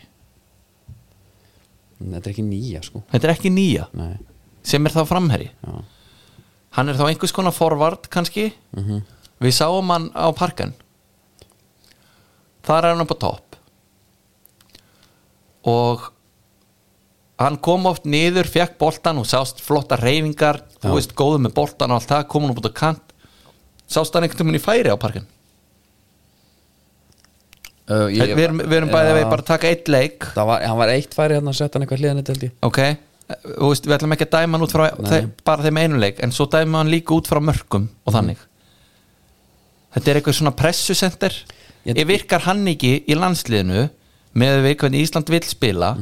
[SPEAKER 1] En Þetta er ekki nýja sko
[SPEAKER 2] Þetta er ekki nýja
[SPEAKER 1] Nei,
[SPEAKER 2] sem er þá framherji
[SPEAKER 1] já,
[SPEAKER 2] Hann er þá einhvers konar forvard kannski
[SPEAKER 1] Mhm.
[SPEAKER 2] Við sáum hann á parkan Þar er hann upp á topp Og Hann kom oft niður, fekk boltan og sást flotta reyfingar Þú
[SPEAKER 1] Já.
[SPEAKER 2] veist, góðu með boltan og allt það Kom hann upp út á kant Sást hann einhvern veginn í færi á parkan
[SPEAKER 1] uh, ég,
[SPEAKER 2] Við erum, við erum bæðið við bara að taka eitt leik
[SPEAKER 1] Það var, hann var eitt færi hérna að setja hann eitthvað hliðan þetta held ég
[SPEAKER 2] Ok, þú veist, við ætlum ekki að dæma hann út frá þe bara þeim einu leik en svo dæma hann líka út frá mörgum og þannig Þetta er eitthvað svona pressusenter
[SPEAKER 1] Ég-
[SPEAKER 2] Ég virkar hann ekki í landsliðinu með við hvernig Ísland vill spila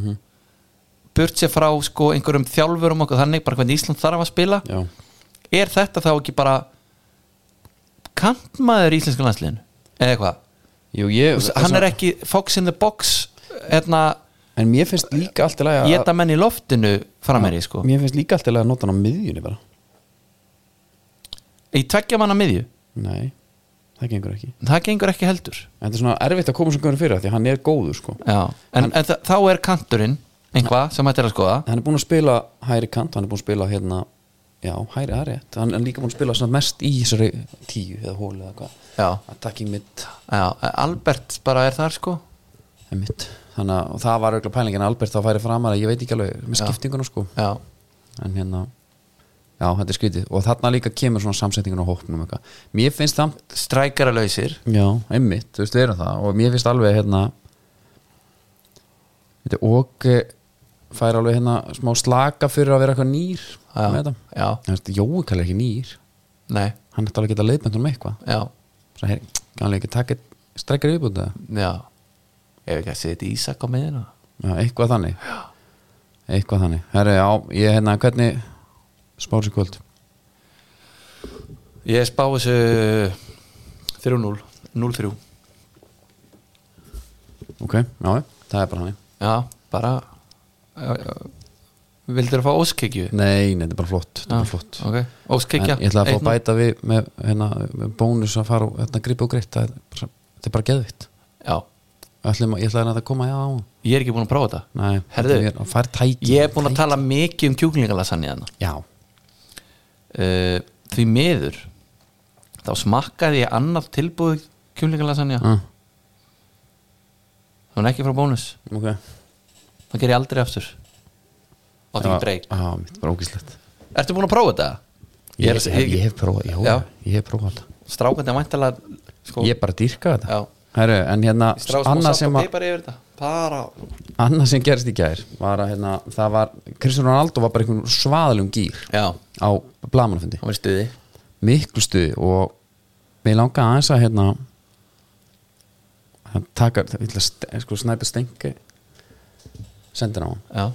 [SPEAKER 2] burt sér frá sko einhverjum þjálfurum og þannig bara hvernig Ísland þarf að spila
[SPEAKER 1] já,
[SPEAKER 2] er þetta þá ekki bara kantmaður í íslenska landsliðinu eða eitthvað
[SPEAKER 1] jú, ég
[SPEAKER 2] Þú veist, hann er ekki fox in the box hérna,
[SPEAKER 1] en mér finnst líka allt í lagi
[SPEAKER 2] geta menn í loftinu framherji sko,
[SPEAKER 1] mér finnst líka allt í lagi að nota hann á miðjunni bara
[SPEAKER 2] í tveggja manna miðju
[SPEAKER 1] nei, það gengur ekki
[SPEAKER 2] það gengur ekki heldur
[SPEAKER 1] en þetta er svona erfitt að koma sem görður fyrir það því að hann er góður sko
[SPEAKER 2] Já. en, en þa- þá er kanturinn einhvað sem hættir að skoða
[SPEAKER 1] hann er búin að spila hæri kant hann er búin að spila hérna já, hæri að rétt, hann er líka búin að spila svona mest í þessari tíu eða hóli eða hvað
[SPEAKER 2] Já.
[SPEAKER 1] attacking mid,
[SPEAKER 2] Já, Albert bara er þar sko
[SPEAKER 1] mid. þannig að og það var auðvitað pælingin að Albert þá færi framar að ég veit ekki alveg með skiptinguna sko
[SPEAKER 2] Já,
[SPEAKER 1] en hérna já, þetta er skrítið og þarna líka kemur svona samsetningun á hópnum og eitthvað. mér finnst það
[SPEAKER 2] strækara lausir
[SPEAKER 1] já, einmitt, þú veist, við erum það og mér finnst alveg hérna veitir, og eh, fær alveg hérna smá slaka fyrir að vera eitthvað nýr
[SPEAKER 2] Já.
[SPEAKER 1] með þetta
[SPEAKER 2] Já,
[SPEAKER 1] Þú veist, Jói kallar ekki nýr
[SPEAKER 2] nei,
[SPEAKER 1] hann ætti alveg að geta leiðbent um eitthvað
[SPEAKER 2] já,
[SPEAKER 1] Svo, hey, kannski ekki taka strekkar viðbúti
[SPEAKER 2] já Ef ekki að setja Ísak á miðina
[SPEAKER 1] eitthvað þannig eitthvað þannig Herri, já, ég, hérna, hvernig spárs í kvöld
[SPEAKER 2] Ég spá þessu 3-0 0-3
[SPEAKER 1] ok, já, það er bara þannig
[SPEAKER 2] Já, bara Vildur að fá óskikju?
[SPEAKER 1] nei, nei, þetta er bara flott, þetta er bara flott.
[SPEAKER 2] okay.
[SPEAKER 1] En
[SPEAKER 2] Óskikja
[SPEAKER 1] ég ætla að fá að bæta við með, hérna, með bónus að fara og hérna, gripa og greitt það er bara, þetta er bara geðvitt
[SPEAKER 2] Já,
[SPEAKER 1] Ætlum, að- ég ætla að þetta koma já, á
[SPEAKER 2] ég er ekki búin að prófa þetta
[SPEAKER 1] nei,
[SPEAKER 2] Herðu.
[SPEAKER 1] þetta er- fær tæki
[SPEAKER 2] Ég er búin að tala mikið um kjúklingalasann í þarna
[SPEAKER 1] já,
[SPEAKER 2] uh, því miður þá smakkaði ég annað tilbúið kjúlingalasanja mm.
[SPEAKER 1] ah,
[SPEAKER 2] það var ekki frá bónus,
[SPEAKER 1] Mm, ok
[SPEAKER 2] það ger ég aldrei aftur og það
[SPEAKER 1] Já,
[SPEAKER 2] ekki breyk
[SPEAKER 1] já, mitt bara ógislegt
[SPEAKER 2] Ertu búin að prófa þetta?
[SPEAKER 1] Ég, ég, ég, hef prófað, já,
[SPEAKER 2] Já.
[SPEAKER 1] ég hef prófað þetta
[SPEAKER 2] Strákandi að væntalega sko,
[SPEAKER 1] Ég bara dýrka þetta
[SPEAKER 2] Já.
[SPEAKER 1] Heru, En hérna,
[SPEAKER 2] strákandi
[SPEAKER 1] annað
[SPEAKER 2] að
[SPEAKER 1] sem,
[SPEAKER 2] salt og
[SPEAKER 1] að,
[SPEAKER 2] peipar yfir þetta bara,
[SPEAKER 1] annað sem gerist í gær var að hérna, það var Kristján Ronaldo var bara einhvern svaðalum gýr
[SPEAKER 2] já,
[SPEAKER 1] á blamanufundi
[SPEAKER 2] hann var í stuði
[SPEAKER 1] miklu stuði og mér langa aðeins að hérna að taka, það vilja st- sko, snæpa stengi sendir á hann
[SPEAKER 2] já,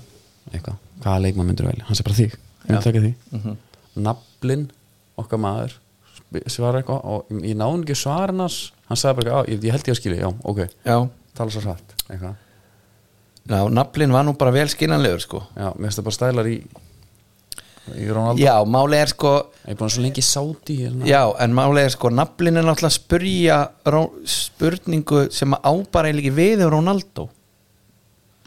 [SPEAKER 1] eitthvað, hvaða leikmann myndir velja hann sé bara þig, ég vil taka þig
[SPEAKER 2] Mhm.
[SPEAKER 1] naflin, okkar maður sp- svarar eitthvað og ég náði ekki svaran hans, hann sagði bara eitthvað, "Já, ég, ég held ég að skilja, já, ok,
[SPEAKER 2] já
[SPEAKER 1] tala svo hratt eitthvað,
[SPEAKER 2] Ná, naflin var nú bara vel skinanlegur sko
[SPEAKER 1] já, mér finnst það bara stælar í í Ronaldo,
[SPEAKER 2] já, máli er sko
[SPEAKER 1] ég er búin svo lengi sáti hérna,
[SPEAKER 2] Já, en málega er sko naflin er náttúrulega að spurja ró- spurningu sem að ábara eiginlega ekki við um Ronaldo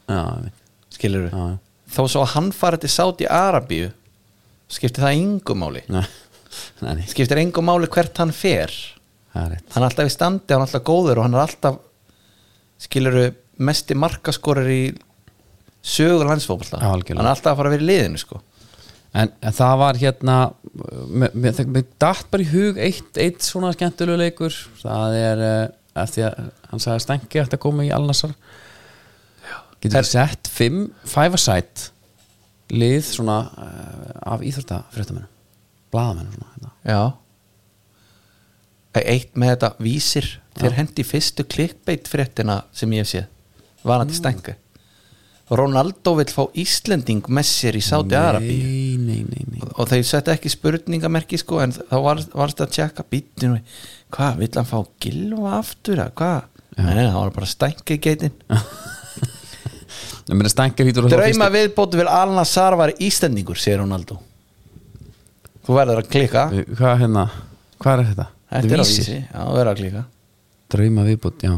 [SPEAKER 1] já, einmitt.
[SPEAKER 2] skilur
[SPEAKER 1] já, já.
[SPEAKER 2] þó svo að hann fara til Saudi Arabíu skiptir það engum máli
[SPEAKER 1] Nei, nei, nei,
[SPEAKER 2] skiptir engum máli hvert hann fer
[SPEAKER 1] það er rétt
[SPEAKER 2] hann er alltaf í standi, hann er alltaf góður og hann er alltaf skilur mesti markaskorur í sögur landsfófballa
[SPEAKER 1] Já,
[SPEAKER 2] hann
[SPEAKER 1] algjörlega.
[SPEAKER 2] er alltaf að fara að vera í liðinu sko.
[SPEAKER 1] En, en það var hérna mér- mér það- mér datt bara í hug eitt, eitt svona skemmtilegu leikur það er eh, af því að hann sagði að stengi eftir að koma í Alnassar getur við sett fimm five a side lið svona uh, af íþórta fréttamennum, blaðamennum svona, hérna.
[SPEAKER 2] já E- eitt með þetta vísir þeir hendi fyrstu klikkbeitt fréttina sem ég hef séð varandi mm. stengu Ronaldo vill fá Íslending með sér í Saudi Arabíu
[SPEAKER 1] Nei, nei, nei, nei
[SPEAKER 2] og þeir setja ekki spurningamerki sko, en þá var, varst að tjekka bítinu hvað, vill hann fá gilva aftur eða hvað, nei, nei, það var bara stænka í geitin,
[SPEAKER 1] Ég meina stengi hýtur
[SPEAKER 2] drauma viðbótu vil Alna Sar var Íslendingur, segir Ronaldo þú verður að klika
[SPEAKER 1] Hvað hérna, hvað er þetta?
[SPEAKER 2] þetta er að vísi, já, þú verður að klika
[SPEAKER 1] Drauma viðbútt, já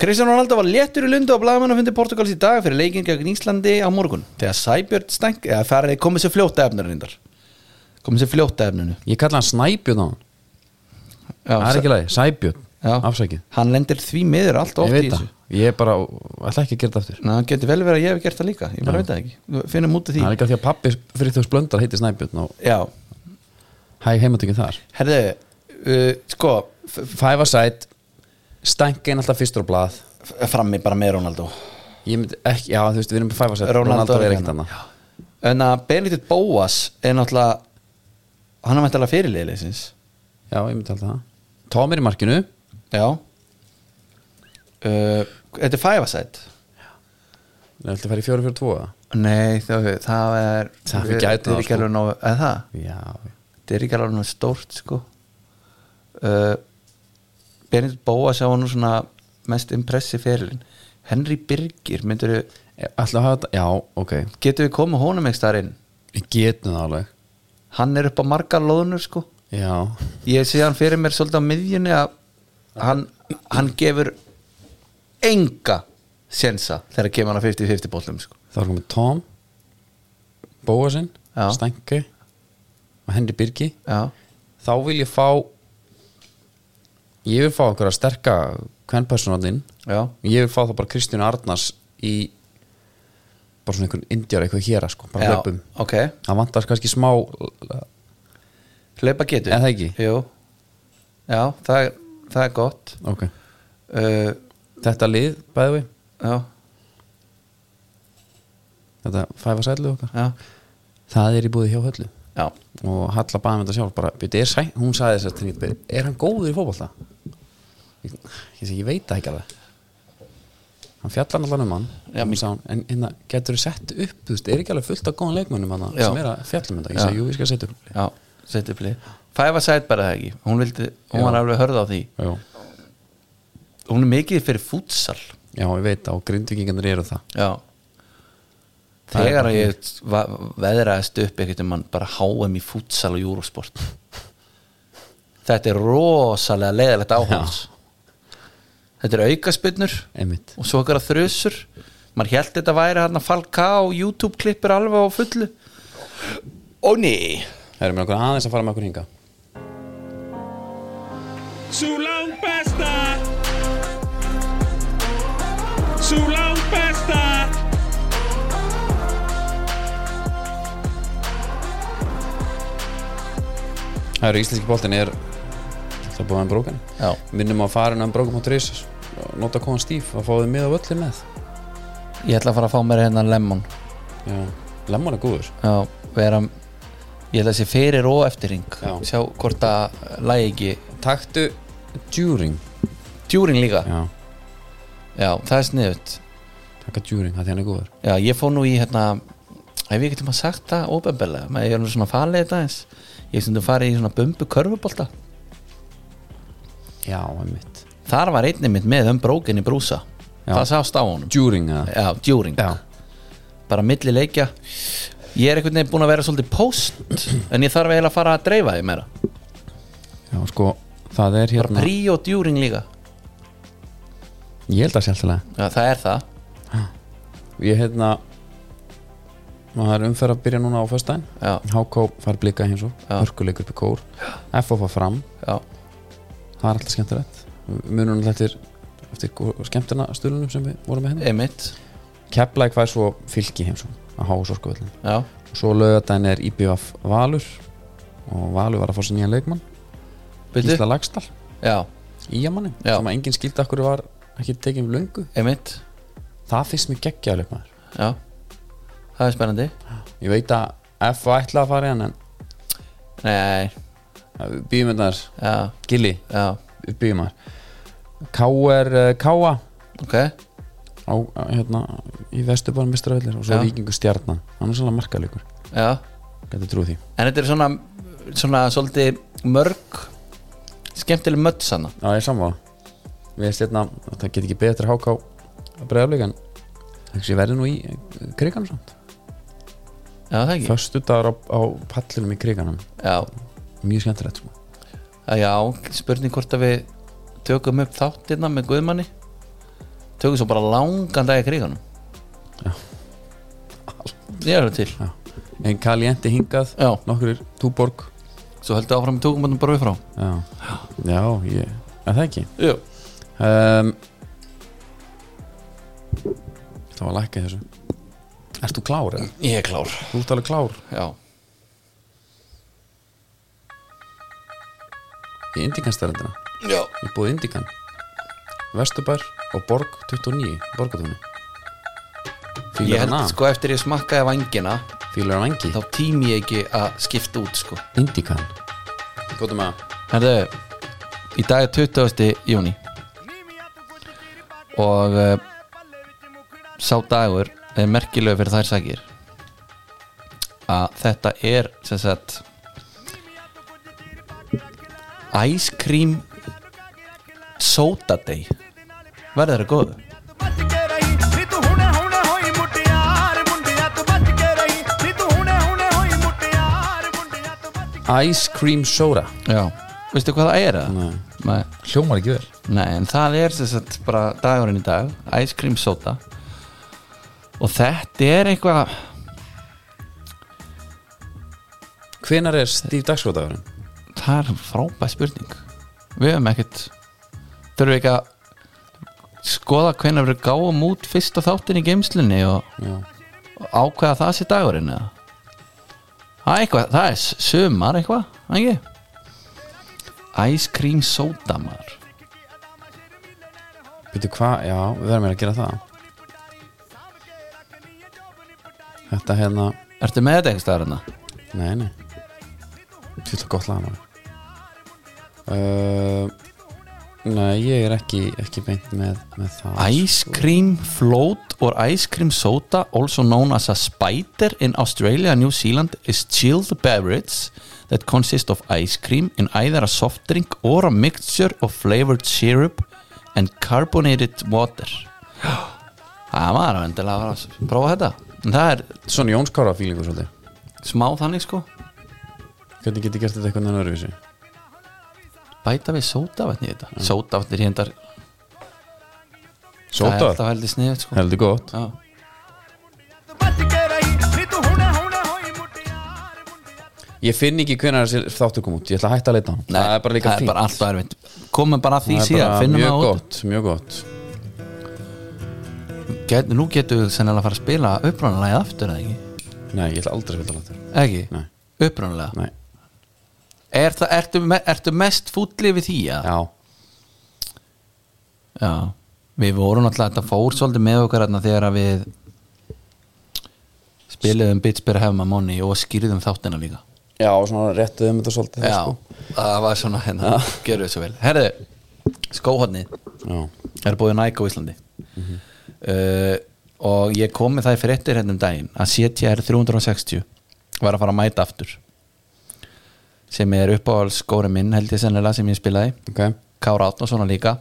[SPEAKER 2] Kristján Ronaldo var léttur í Lundu og blagamann að fundi Portugals í dag fyrir leikin gegn Íslandi á morgun, þegar Sæbjörn stænk eða það er komið sér fljóta efnur reyndar komið sér fljóta efninu
[SPEAKER 1] Ég kalla hann Snæbjörn á hann
[SPEAKER 2] já,
[SPEAKER 1] Það er ekki lægi, Sæbjörn,
[SPEAKER 2] Já.
[SPEAKER 1] afsækið
[SPEAKER 2] hann lendir því miður allt
[SPEAKER 1] Ég
[SPEAKER 2] oft í
[SPEAKER 1] veit
[SPEAKER 2] þessu
[SPEAKER 1] það, ég er bara, ætla ekki að gera það aftur
[SPEAKER 2] Ná, það getur vel verið að ég hef gert það líka Ég bara veit það ekki, Við finnum út af því
[SPEAKER 1] Það er ekki að því að pappi fyrir þess blöndar heiti Snæbjörn og
[SPEAKER 2] Já,
[SPEAKER 1] hæ heimatökin þar
[SPEAKER 2] herðu uh, Sko, f-
[SPEAKER 1] Five a side, stænkein alltaf fyrstur á blað
[SPEAKER 2] f- frammi bara með Ronaldo
[SPEAKER 1] Ég myndi ekki, já þú veist, við erum með five a side er hérna. ekkert annað
[SPEAKER 2] hérna. En að Benedikt Bóas er náttúrulega Hann er mæntalega fyrirliðleysins
[SPEAKER 1] Já, ég myndi alltaf það Tom er í markinu,
[SPEAKER 2] Já uh, Þetta er fæfasætt
[SPEAKER 1] það ætla að fara í fjóri fjóri tvo eða?
[SPEAKER 2] Nei, þau, það er
[SPEAKER 1] Það við gætum
[SPEAKER 2] það er
[SPEAKER 1] það,
[SPEAKER 2] ekki alveg nógu, eða það
[SPEAKER 1] já,
[SPEAKER 2] það er ekki alveg nógu stórt sko uh, Benedikt Bóa sá nú svona mest impressi fyrirlin Henry Birgir, myndur við
[SPEAKER 1] alltaf E, hafa þetta, já, ok
[SPEAKER 2] getur við komið honum ekki þar inn
[SPEAKER 1] við getum það alveg
[SPEAKER 2] hann er upp á margar lóðunur sko
[SPEAKER 1] já,
[SPEAKER 2] ég sé hann fyrir mér svolítið á miðjunni að hann, hann gefur enga sensa þegar kemur hann að 50-50 bóllum sko
[SPEAKER 1] þá er komið Tom Bóasinn,
[SPEAKER 2] Já.
[SPEAKER 1] Stænke og Henry Birgi
[SPEAKER 2] já,
[SPEAKER 1] þá vil ég fá ég vil fá okkur að sterka kvennpersonatinn
[SPEAKER 2] já,
[SPEAKER 1] ég vil fá þá bara Kristján Arnars í bara svona einhvern indjár eitthvað hér sko, bara
[SPEAKER 2] já
[SPEAKER 1] hlaupum
[SPEAKER 2] ok,
[SPEAKER 1] það vantar kannski smá
[SPEAKER 2] hlaupa getur
[SPEAKER 1] Er það ekki?
[SPEAKER 2] Jú. já, það er, það er gott
[SPEAKER 1] ok,
[SPEAKER 2] uh,
[SPEAKER 1] þetta lið bæði við
[SPEAKER 2] já,
[SPEAKER 1] þetta fæfa sætlu okkar
[SPEAKER 2] já,
[SPEAKER 1] það er í búið hjá höllu
[SPEAKER 2] já
[SPEAKER 1] og Halla baði með þetta sjálf bara, "Bíddu, er sæ, hún sagði þess að þetta nýtt byrð er hann góður í fótbolta? ég, ég, segi, ég veit það ekki alveg hann fjallar allan um hann
[SPEAKER 2] Já,
[SPEAKER 1] hún sá hann, en hérna getur þú sett upp þú veist, er ekki alveg fullt af góðan leikmönnum hann
[SPEAKER 2] Já.
[SPEAKER 1] sem er að fjalla um þetta, ég
[SPEAKER 2] Já.
[SPEAKER 1] segi, jú, ég skal setja upp
[SPEAKER 2] já, setja blið Fæfa sæt bara það ekki, hún, vildi, hún
[SPEAKER 1] Já.
[SPEAKER 2] var alveg hörð á því
[SPEAKER 1] já,
[SPEAKER 2] hún er mikið fyrir fútsal
[SPEAKER 1] já, ég veit það og grindvikingarnir eru það
[SPEAKER 2] Já
[SPEAKER 1] Það er
[SPEAKER 2] Þegar
[SPEAKER 1] bara-
[SPEAKER 2] ég va- veðraðist upp ekkert um hann bara HM í fútsal og júrosport Þetta er rosalega leiðilegt áhans Þetta er aukaspinnur
[SPEAKER 1] einmitt,
[SPEAKER 2] og svo okkar að þrösur maður held þetta væri hann að falka og YouTube klippir alveg á fullu Ó nei
[SPEAKER 1] það er mér okkur aðeins að fara með okkur hinga
[SPEAKER 4] Sú lang besta Sú lang besta
[SPEAKER 1] það eru íslenski boltin er það búið að hann brókan
[SPEAKER 2] Já,
[SPEAKER 1] minnum á farinu hann brókan.is nota kóðan stíf að fáðu miða völli með
[SPEAKER 2] ég ætla að fara að fá mér hérna lemon
[SPEAKER 1] já, lemman er góður
[SPEAKER 2] Já, vera ég ætla að sé fyrir og eftir ring
[SPEAKER 1] Já.
[SPEAKER 2] sjá hvort að lægi ekki
[SPEAKER 1] taktu djúring
[SPEAKER 2] djúrin líka
[SPEAKER 1] já,
[SPEAKER 2] Já, það er sniðut
[SPEAKER 1] taka djúring, það er hann er góður
[SPEAKER 2] Já, ég fór nú í hérna Ef ég getum að sagt það óbembelega maður er nú svona farlega þetta eins Ég stundum farið í svona bumbu körfubolta
[SPEAKER 1] já, einmitt
[SPEAKER 2] Þar var einnig mitt með um brókinni brúsa
[SPEAKER 1] Já.
[SPEAKER 2] Það sást á honum
[SPEAKER 1] djúring, eða?
[SPEAKER 2] Já, djúring
[SPEAKER 1] já,
[SPEAKER 2] Bara milli leikja Ég er einhvern veginn búin að vera svolítið post En ég þarf eiginlega að fara að dreifa því meira
[SPEAKER 1] já, sko það er
[SPEAKER 2] Bara
[SPEAKER 1] hérna,
[SPEAKER 2] prí og djúring líka
[SPEAKER 1] ég held að sé alltaf
[SPEAKER 2] Já, það er það
[SPEAKER 1] ég hérna það er umferð að byrja núna á föstudaginn
[SPEAKER 2] Já,
[SPEAKER 1] HK fær blika hins og
[SPEAKER 2] Já.
[SPEAKER 1] hörkuleikur upp í kór FF fær fram,
[SPEAKER 2] já,
[SPEAKER 1] það er alltaf skemmtilegt munum þetta er eftir gó- skemmtina stölunum sem við vorum með henni
[SPEAKER 2] einmitt
[SPEAKER 1] Keflæk fær svo fylki hins og að háa sorkuvöldin
[SPEAKER 2] Já,
[SPEAKER 1] svo lögadaginn er IBF Valur og Valur var að fá sér nýjan leikmann
[SPEAKER 2] byrju
[SPEAKER 1] Gísla Lagstall
[SPEAKER 2] Já,
[SPEAKER 1] Íjamanni
[SPEAKER 2] Já.
[SPEAKER 1] sem að enginn skildi okkur var ekki tekið um löngu
[SPEAKER 2] einmitt
[SPEAKER 1] það finnst mér geggjaður leikmaður
[SPEAKER 2] Já, það er spennandi
[SPEAKER 1] ég veit að FF ætla að fara í hann en
[SPEAKER 2] Nei,
[SPEAKER 1] býðum þar
[SPEAKER 2] já,
[SPEAKER 1] Gilli
[SPEAKER 2] já,
[SPEAKER 1] uppbyggjum maður K.R. K.A.
[SPEAKER 2] ok
[SPEAKER 1] eh, Á, hérna, í vesturbæðan mistravellir og svo
[SPEAKER 2] Já.
[SPEAKER 1] vikingu stjarnan hann er svolítið markalíkur,
[SPEAKER 2] já.
[SPEAKER 1] gæti trúið því
[SPEAKER 2] En þetta er svona, svona svolítið mörg skemmtileg mödd sanna
[SPEAKER 1] Já, ég er samvála við erum stjarnan, það get ekki betra háká að bregðarleika en þessi verði nú í kriganum samt
[SPEAKER 2] Já, það ekki
[SPEAKER 1] föstu dagar á, á pallinum í kriganum
[SPEAKER 2] já,
[SPEAKER 1] mjög skemmtilegt sko.
[SPEAKER 2] að já, spurning hvort að við tökum upp þáttirna með Guðmanni tökum svo bara langan dag í kriganum Já Ég er það til
[SPEAKER 1] Já. en Kali Endi hingað
[SPEAKER 2] Já,
[SPEAKER 1] nokkur túborg
[SPEAKER 2] svo heldur áfram við tökum hann bara við frá
[SPEAKER 1] já, já ég, er það ekki
[SPEAKER 2] Jú,
[SPEAKER 1] um, það var lækka í þessu Ert þú klár eða?
[SPEAKER 2] ég er klár
[SPEAKER 1] Þú ert alveg klár
[SPEAKER 2] Já,
[SPEAKER 1] í Indikanstærendina
[SPEAKER 2] já,
[SPEAKER 1] Ég búið Indikan Vesturbær og Borg 29 Borgatúni
[SPEAKER 2] ég
[SPEAKER 1] Fýlar hann
[SPEAKER 2] held
[SPEAKER 1] af,
[SPEAKER 2] sko eftir ég smakkaði vangina
[SPEAKER 1] fýlar hann engi
[SPEAKER 2] þá tími ég ekki að skipta út sko
[SPEAKER 1] Indikan Góðum að
[SPEAKER 2] Herðu, í dag er 20. júni og uh, eh, sá dagur er merkilega fyrir þær sakir að þetta er sem sagt Ice Cream Soda Day verður það góð
[SPEAKER 5] ਬਚ ਕੇ ਰਹੀ ਨੀ ਤੂੰ ਹੁਣੇ ਹੁਣੇ ਹੋਈ ਮੁਟਿਆਰ ਮੁੰਡਿਆਂ ਤੋਂ ਬਚ ਕੇ ਰਹੀ ਨੀ ਤੂੰ ਹੁਣੇ ਹੁਣੇ ਹੋਈ ਮੁਟਿਆਰ ਮੁੰਡਿਆਂ ਤੋਂ ਬਚ ਕੇ
[SPEAKER 1] Ice Cream Soda
[SPEAKER 2] Já, veistu hvað það er það?
[SPEAKER 1] Nei.
[SPEAKER 2] Nei.
[SPEAKER 6] Hljómar ekki vel
[SPEAKER 2] Nei, en það er sem sagt bara dagurinn í dag Ice Cream Soda og þetta er eitthvað
[SPEAKER 1] Hvenar er Steve Dagsfóðagurinn?
[SPEAKER 2] það er frábæð spurning við höfum ekkert þurfum ekki að skoða hvenær við gáum út fyrsta þáttin í geimslunni og, og ákveða það sér dagurinn eða það er eitthvað, það er sumar eitthvað, það ekki Ice Cream Soda maður
[SPEAKER 1] Býtu hvað, já, við verðum meira að gera það Þetta hérna
[SPEAKER 2] Ertu með þetta einhverstaðar hérna?
[SPEAKER 1] Nei, nei Þetta er gott laga maður uh, Nei, ég er ekki, ekki beint með, með það
[SPEAKER 2] Ice Cream Float or Ice Cream Soda also known as a spider in Australia and New Zealand is chilled beverage that consists of ice cream in either a soft drink or a mixture of flavored syrup and carbonated water Það er maður að vendilega að fara að prófa þetta en það er
[SPEAKER 1] Svona Jónskára fílingur svolítið
[SPEAKER 2] smá þannig sko
[SPEAKER 1] Hvernig getur gert þetta eitthvað neina öðruvísi?
[SPEAKER 2] bæta við sódavatni í þetta mm. sódavatni er hérna það er
[SPEAKER 1] Sótar,
[SPEAKER 2] alltaf heldur sniðið sko
[SPEAKER 1] heldur gott
[SPEAKER 2] Já.
[SPEAKER 5] ਬਚ ਕੇ ਰਹੀ ਨੀ ਤੂੰ ਹੁਣੇ ਹੁਣੇ ਹੋਈ ਮੁਟਿਆਰ ਮੁੰਡਿਆਂ
[SPEAKER 1] Ég finn ekki hvenar þessi þáttu kom út Ég ætla að hætta að leita á hann
[SPEAKER 2] Nei,
[SPEAKER 1] Það er bara líka
[SPEAKER 2] það er
[SPEAKER 1] fínt
[SPEAKER 2] bara alltaf erfitt komum bara að því
[SPEAKER 1] Það er
[SPEAKER 2] síðan,
[SPEAKER 1] bara
[SPEAKER 2] finnum
[SPEAKER 1] mjög
[SPEAKER 2] það út
[SPEAKER 1] gott, mjög gott
[SPEAKER 2] Get, nú getum við sennilega að fara að spila upprunalega aftur eða ekki?
[SPEAKER 1] Nei, ég ætla aldrei að spila láttur
[SPEAKER 2] Ekki?
[SPEAKER 1] Nei.
[SPEAKER 2] Upprunalega?
[SPEAKER 1] Nei,
[SPEAKER 2] Er það, ertu, me, ertu mest fúlli við því? Ja?
[SPEAKER 1] já,
[SPEAKER 2] Já. Við vorum alltaf, þetta fór svolítið með okkar þarna þegar að við spiliðum Bits Better Have My Money og skýrðum þáttina líka.
[SPEAKER 1] já, svona réttuðum þetta svolítið
[SPEAKER 2] Já, það var svona hérna, gerðu þessu vel. Herðu, skóhotnið.
[SPEAKER 1] sko. já,
[SPEAKER 2] er búið Nike á Íslandi uh, og ég kom með það í fréttir hérna um daginn að CTR 360 var að fara að mæta aftur sem er uppáhaldsskóri minn held ég sennilega sem ég spilaði
[SPEAKER 1] ok,
[SPEAKER 2] Kára Átnarsson líka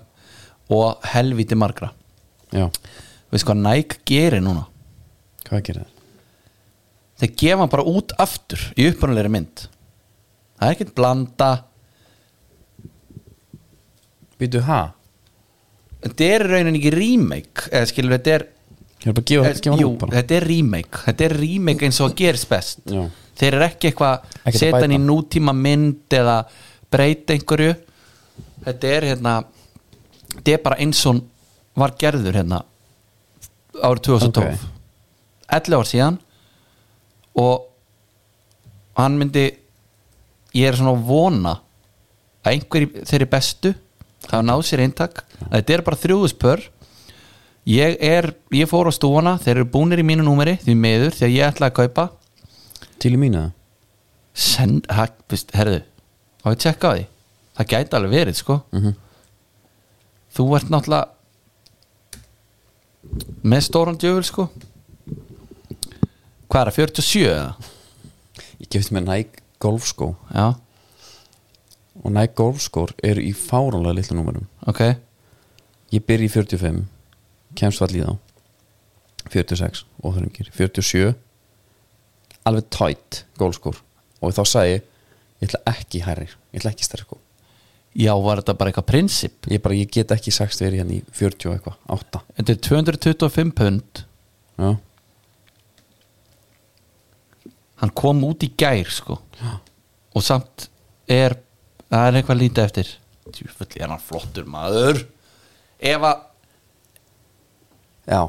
[SPEAKER 2] og helviti margra
[SPEAKER 1] já
[SPEAKER 2] veist hvað Nike gerir núna
[SPEAKER 1] Hvað gerir það?
[SPEAKER 2] þeir gefa hann bara út aftur í upprunalegri mynd það er ekkert blanda
[SPEAKER 1] Býtu, ha?
[SPEAKER 2] þetta er í rauninni ekki remake eða skilur þetta er
[SPEAKER 1] Ég er bara að gefa, gefa hann
[SPEAKER 2] Eh, Jú,
[SPEAKER 1] út bara
[SPEAKER 2] þetta er remake þetta er remake eins og gerist best
[SPEAKER 1] Já.
[SPEAKER 2] þeir eru ekki eitthvað
[SPEAKER 1] Ekkert að
[SPEAKER 2] setja hann í
[SPEAKER 1] bæta.
[SPEAKER 2] nútíma mynd eða breyta einhverju þetta er hérna þetta er bara eins og hann var gerður hérna árið 2012
[SPEAKER 1] Ok.
[SPEAKER 2] 11 ár síðan og hann myndi ég er svona að vona að einhverjir þeirri bestu það náðu sér eintak þetta er bara þrjúðuspör ég, er, ég fór á stúana þeir eru búnir í mínu númeri því meður því að ég ætla að kaupa
[SPEAKER 1] Til í mínu það?
[SPEAKER 2] send, ha, veist, herðu á ég að tjekka á því það gæti alveg verið sko
[SPEAKER 1] Mhm.
[SPEAKER 2] þú ert náttúrulega með stóran djöful sko hvað er það 47 eða?
[SPEAKER 1] Ég gefst mér Nike golfskó
[SPEAKER 2] já,
[SPEAKER 1] og Nike golfskór eru í fáránlega litlu númerum
[SPEAKER 2] ok
[SPEAKER 1] Ég byrja í 45 kemst all í þá 46 og það ringir 47 alveg tætt golfskór og þá sagði ég ég ætla ekki hærri, ég ætla ekki stærri skó
[SPEAKER 2] já, var þetta bara eitthvað prinsip
[SPEAKER 1] ég bara, ég get ekki sagst verið hérna í 40 og eitthvað, 8
[SPEAKER 2] Þetta er 225 pund
[SPEAKER 1] já,
[SPEAKER 2] Hann kom út í gær sko Og samt er Það er eitthvað lítið eftir Tjúfull er hann flottur maður Ef að
[SPEAKER 1] já,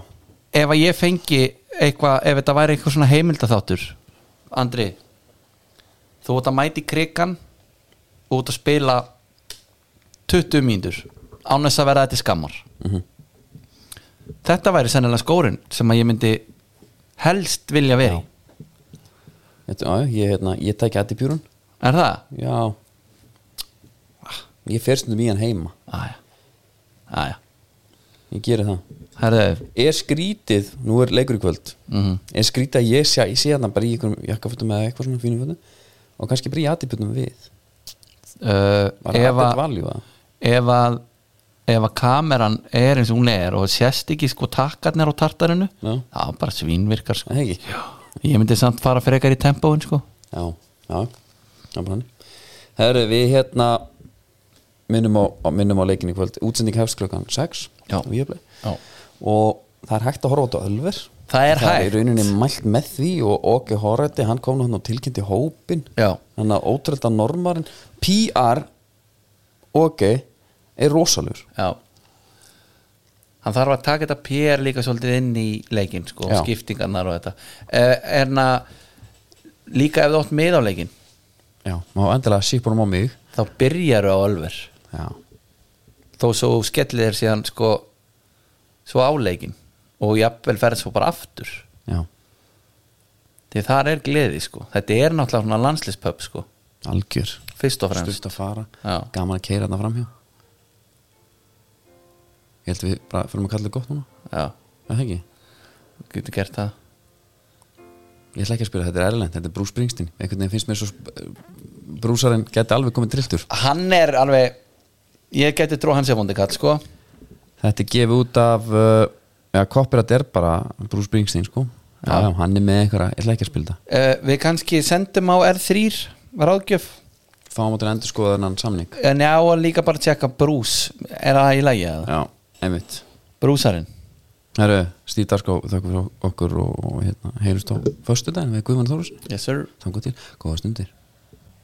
[SPEAKER 2] ef að ég fengi eitthvað, ef þetta væri eitthvað svona heimildaþáttur Andri þú ert að mæti krikan og ert að spila 20 mínútur án þess að vera þetta skammar
[SPEAKER 1] Mhm.
[SPEAKER 2] þetta væri sennilega skórin sem að ég myndi helst vilja vera í.
[SPEAKER 1] þetta, já ég, hérna, ég tæki aðdibjúrun,
[SPEAKER 2] er það?
[SPEAKER 1] já Ah, ég fer stundum í hann heima
[SPEAKER 2] aðja, aðja
[SPEAKER 1] ég geri það
[SPEAKER 2] Herðu,
[SPEAKER 1] er skrítið, nú er leikur í kvöld er skrítið að ég sé, ég sé hérna bara í einhverjum jakkafutum eða eitthvað svona fínum fötum og kannski bara í aðtiputum við
[SPEAKER 2] uh,
[SPEAKER 1] var það
[SPEAKER 2] ef,
[SPEAKER 1] aðtiputum
[SPEAKER 2] að,
[SPEAKER 1] valjú að
[SPEAKER 2] ef að ef að kameran er eins og hún er og sérst ekki sko takkarnir á tartarinu
[SPEAKER 1] Já.
[SPEAKER 2] þá bara svínvirkar sko
[SPEAKER 1] það er ekki
[SPEAKER 2] Já. ég myndi samt fara frekar í tempóin sko
[SPEAKER 1] já, já, já, bara hann herru, við hérna minnum á, á- minnum á leikin í kvöld útsending hefst klukkan 6
[SPEAKER 2] Já.
[SPEAKER 1] og, ég,
[SPEAKER 2] Já.
[SPEAKER 1] og það er hægt að horfa út á Ölver
[SPEAKER 2] Það er
[SPEAKER 1] það er
[SPEAKER 2] hægt.
[SPEAKER 1] í rauninni mælt með því og Óke Horrati, hann kom nú hann og tilkynnti hópin
[SPEAKER 2] Já.
[SPEAKER 1] hann að ótrölda normarinn PR Óke er rosalur
[SPEAKER 2] Já Hann þarf að taka þetta PR líka svolítið inn í leikinn sko,
[SPEAKER 1] Já.
[SPEAKER 2] skiptingarnar og þetta uh, En að líka ef þú átt með á leikinn
[SPEAKER 1] já, má endilega sípa honum á mig
[SPEAKER 2] þá byrjaru á Ölver
[SPEAKER 1] já,
[SPEAKER 2] þó svo þú skellir þér síðan sko, svo á leikinn og jafnvel ferð svo bara aftur
[SPEAKER 1] já,
[SPEAKER 2] því þar er gleði sko þetta er náttúrulega svona landslispöp sko
[SPEAKER 1] algjör
[SPEAKER 2] fyrst og fremst
[SPEAKER 1] stutt að fara,
[SPEAKER 2] Já.
[SPEAKER 1] gaman að keira þarna framhjá ég held við bara fyrir að kalla þetta gott núna
[SPEAKER 2] Já,
[SPEAKER 1] Er það ekki?
[SPEAKER 2] þú getur gert það
[SPEAKER 1] Ég ætla ekki að spila, þetta er Erlend, þetta er Bruce Springsteen einhvern veginn finnst mér svo eh, brúsarinn geti alveg komið trilltur
[SPEAKER 2] Hann er alveg ég geti trú hans efondi kall sko
[SPEAKER 1] Þetta er gefið út af uh, já, copyright er bara Bruce Springsteen sko já. Já, hann er með einhverja, ég ætla ekki að spila
[SPEAKER 2] uh, Við kannski sendum á R3 ráðgjöf
[SPEAKER 1] það fáum áttur endur skoða þennan samning
[SPEAKER 2] En já, og líka bara tjekka brús Er það í lagi eða?
[SPEAKER 1] Já, einmitt
[SPEAKER 2] Brúsarinn
[SPEAKER 1] Herru, Stíf Darskó, þakku fyrir okkur og, og hérna, heyrjumst á föstudaginn við Guðmann Þórus
[SPEAKER 2] Yes sir
[SPEAKER 1] Þangu til, góða stundir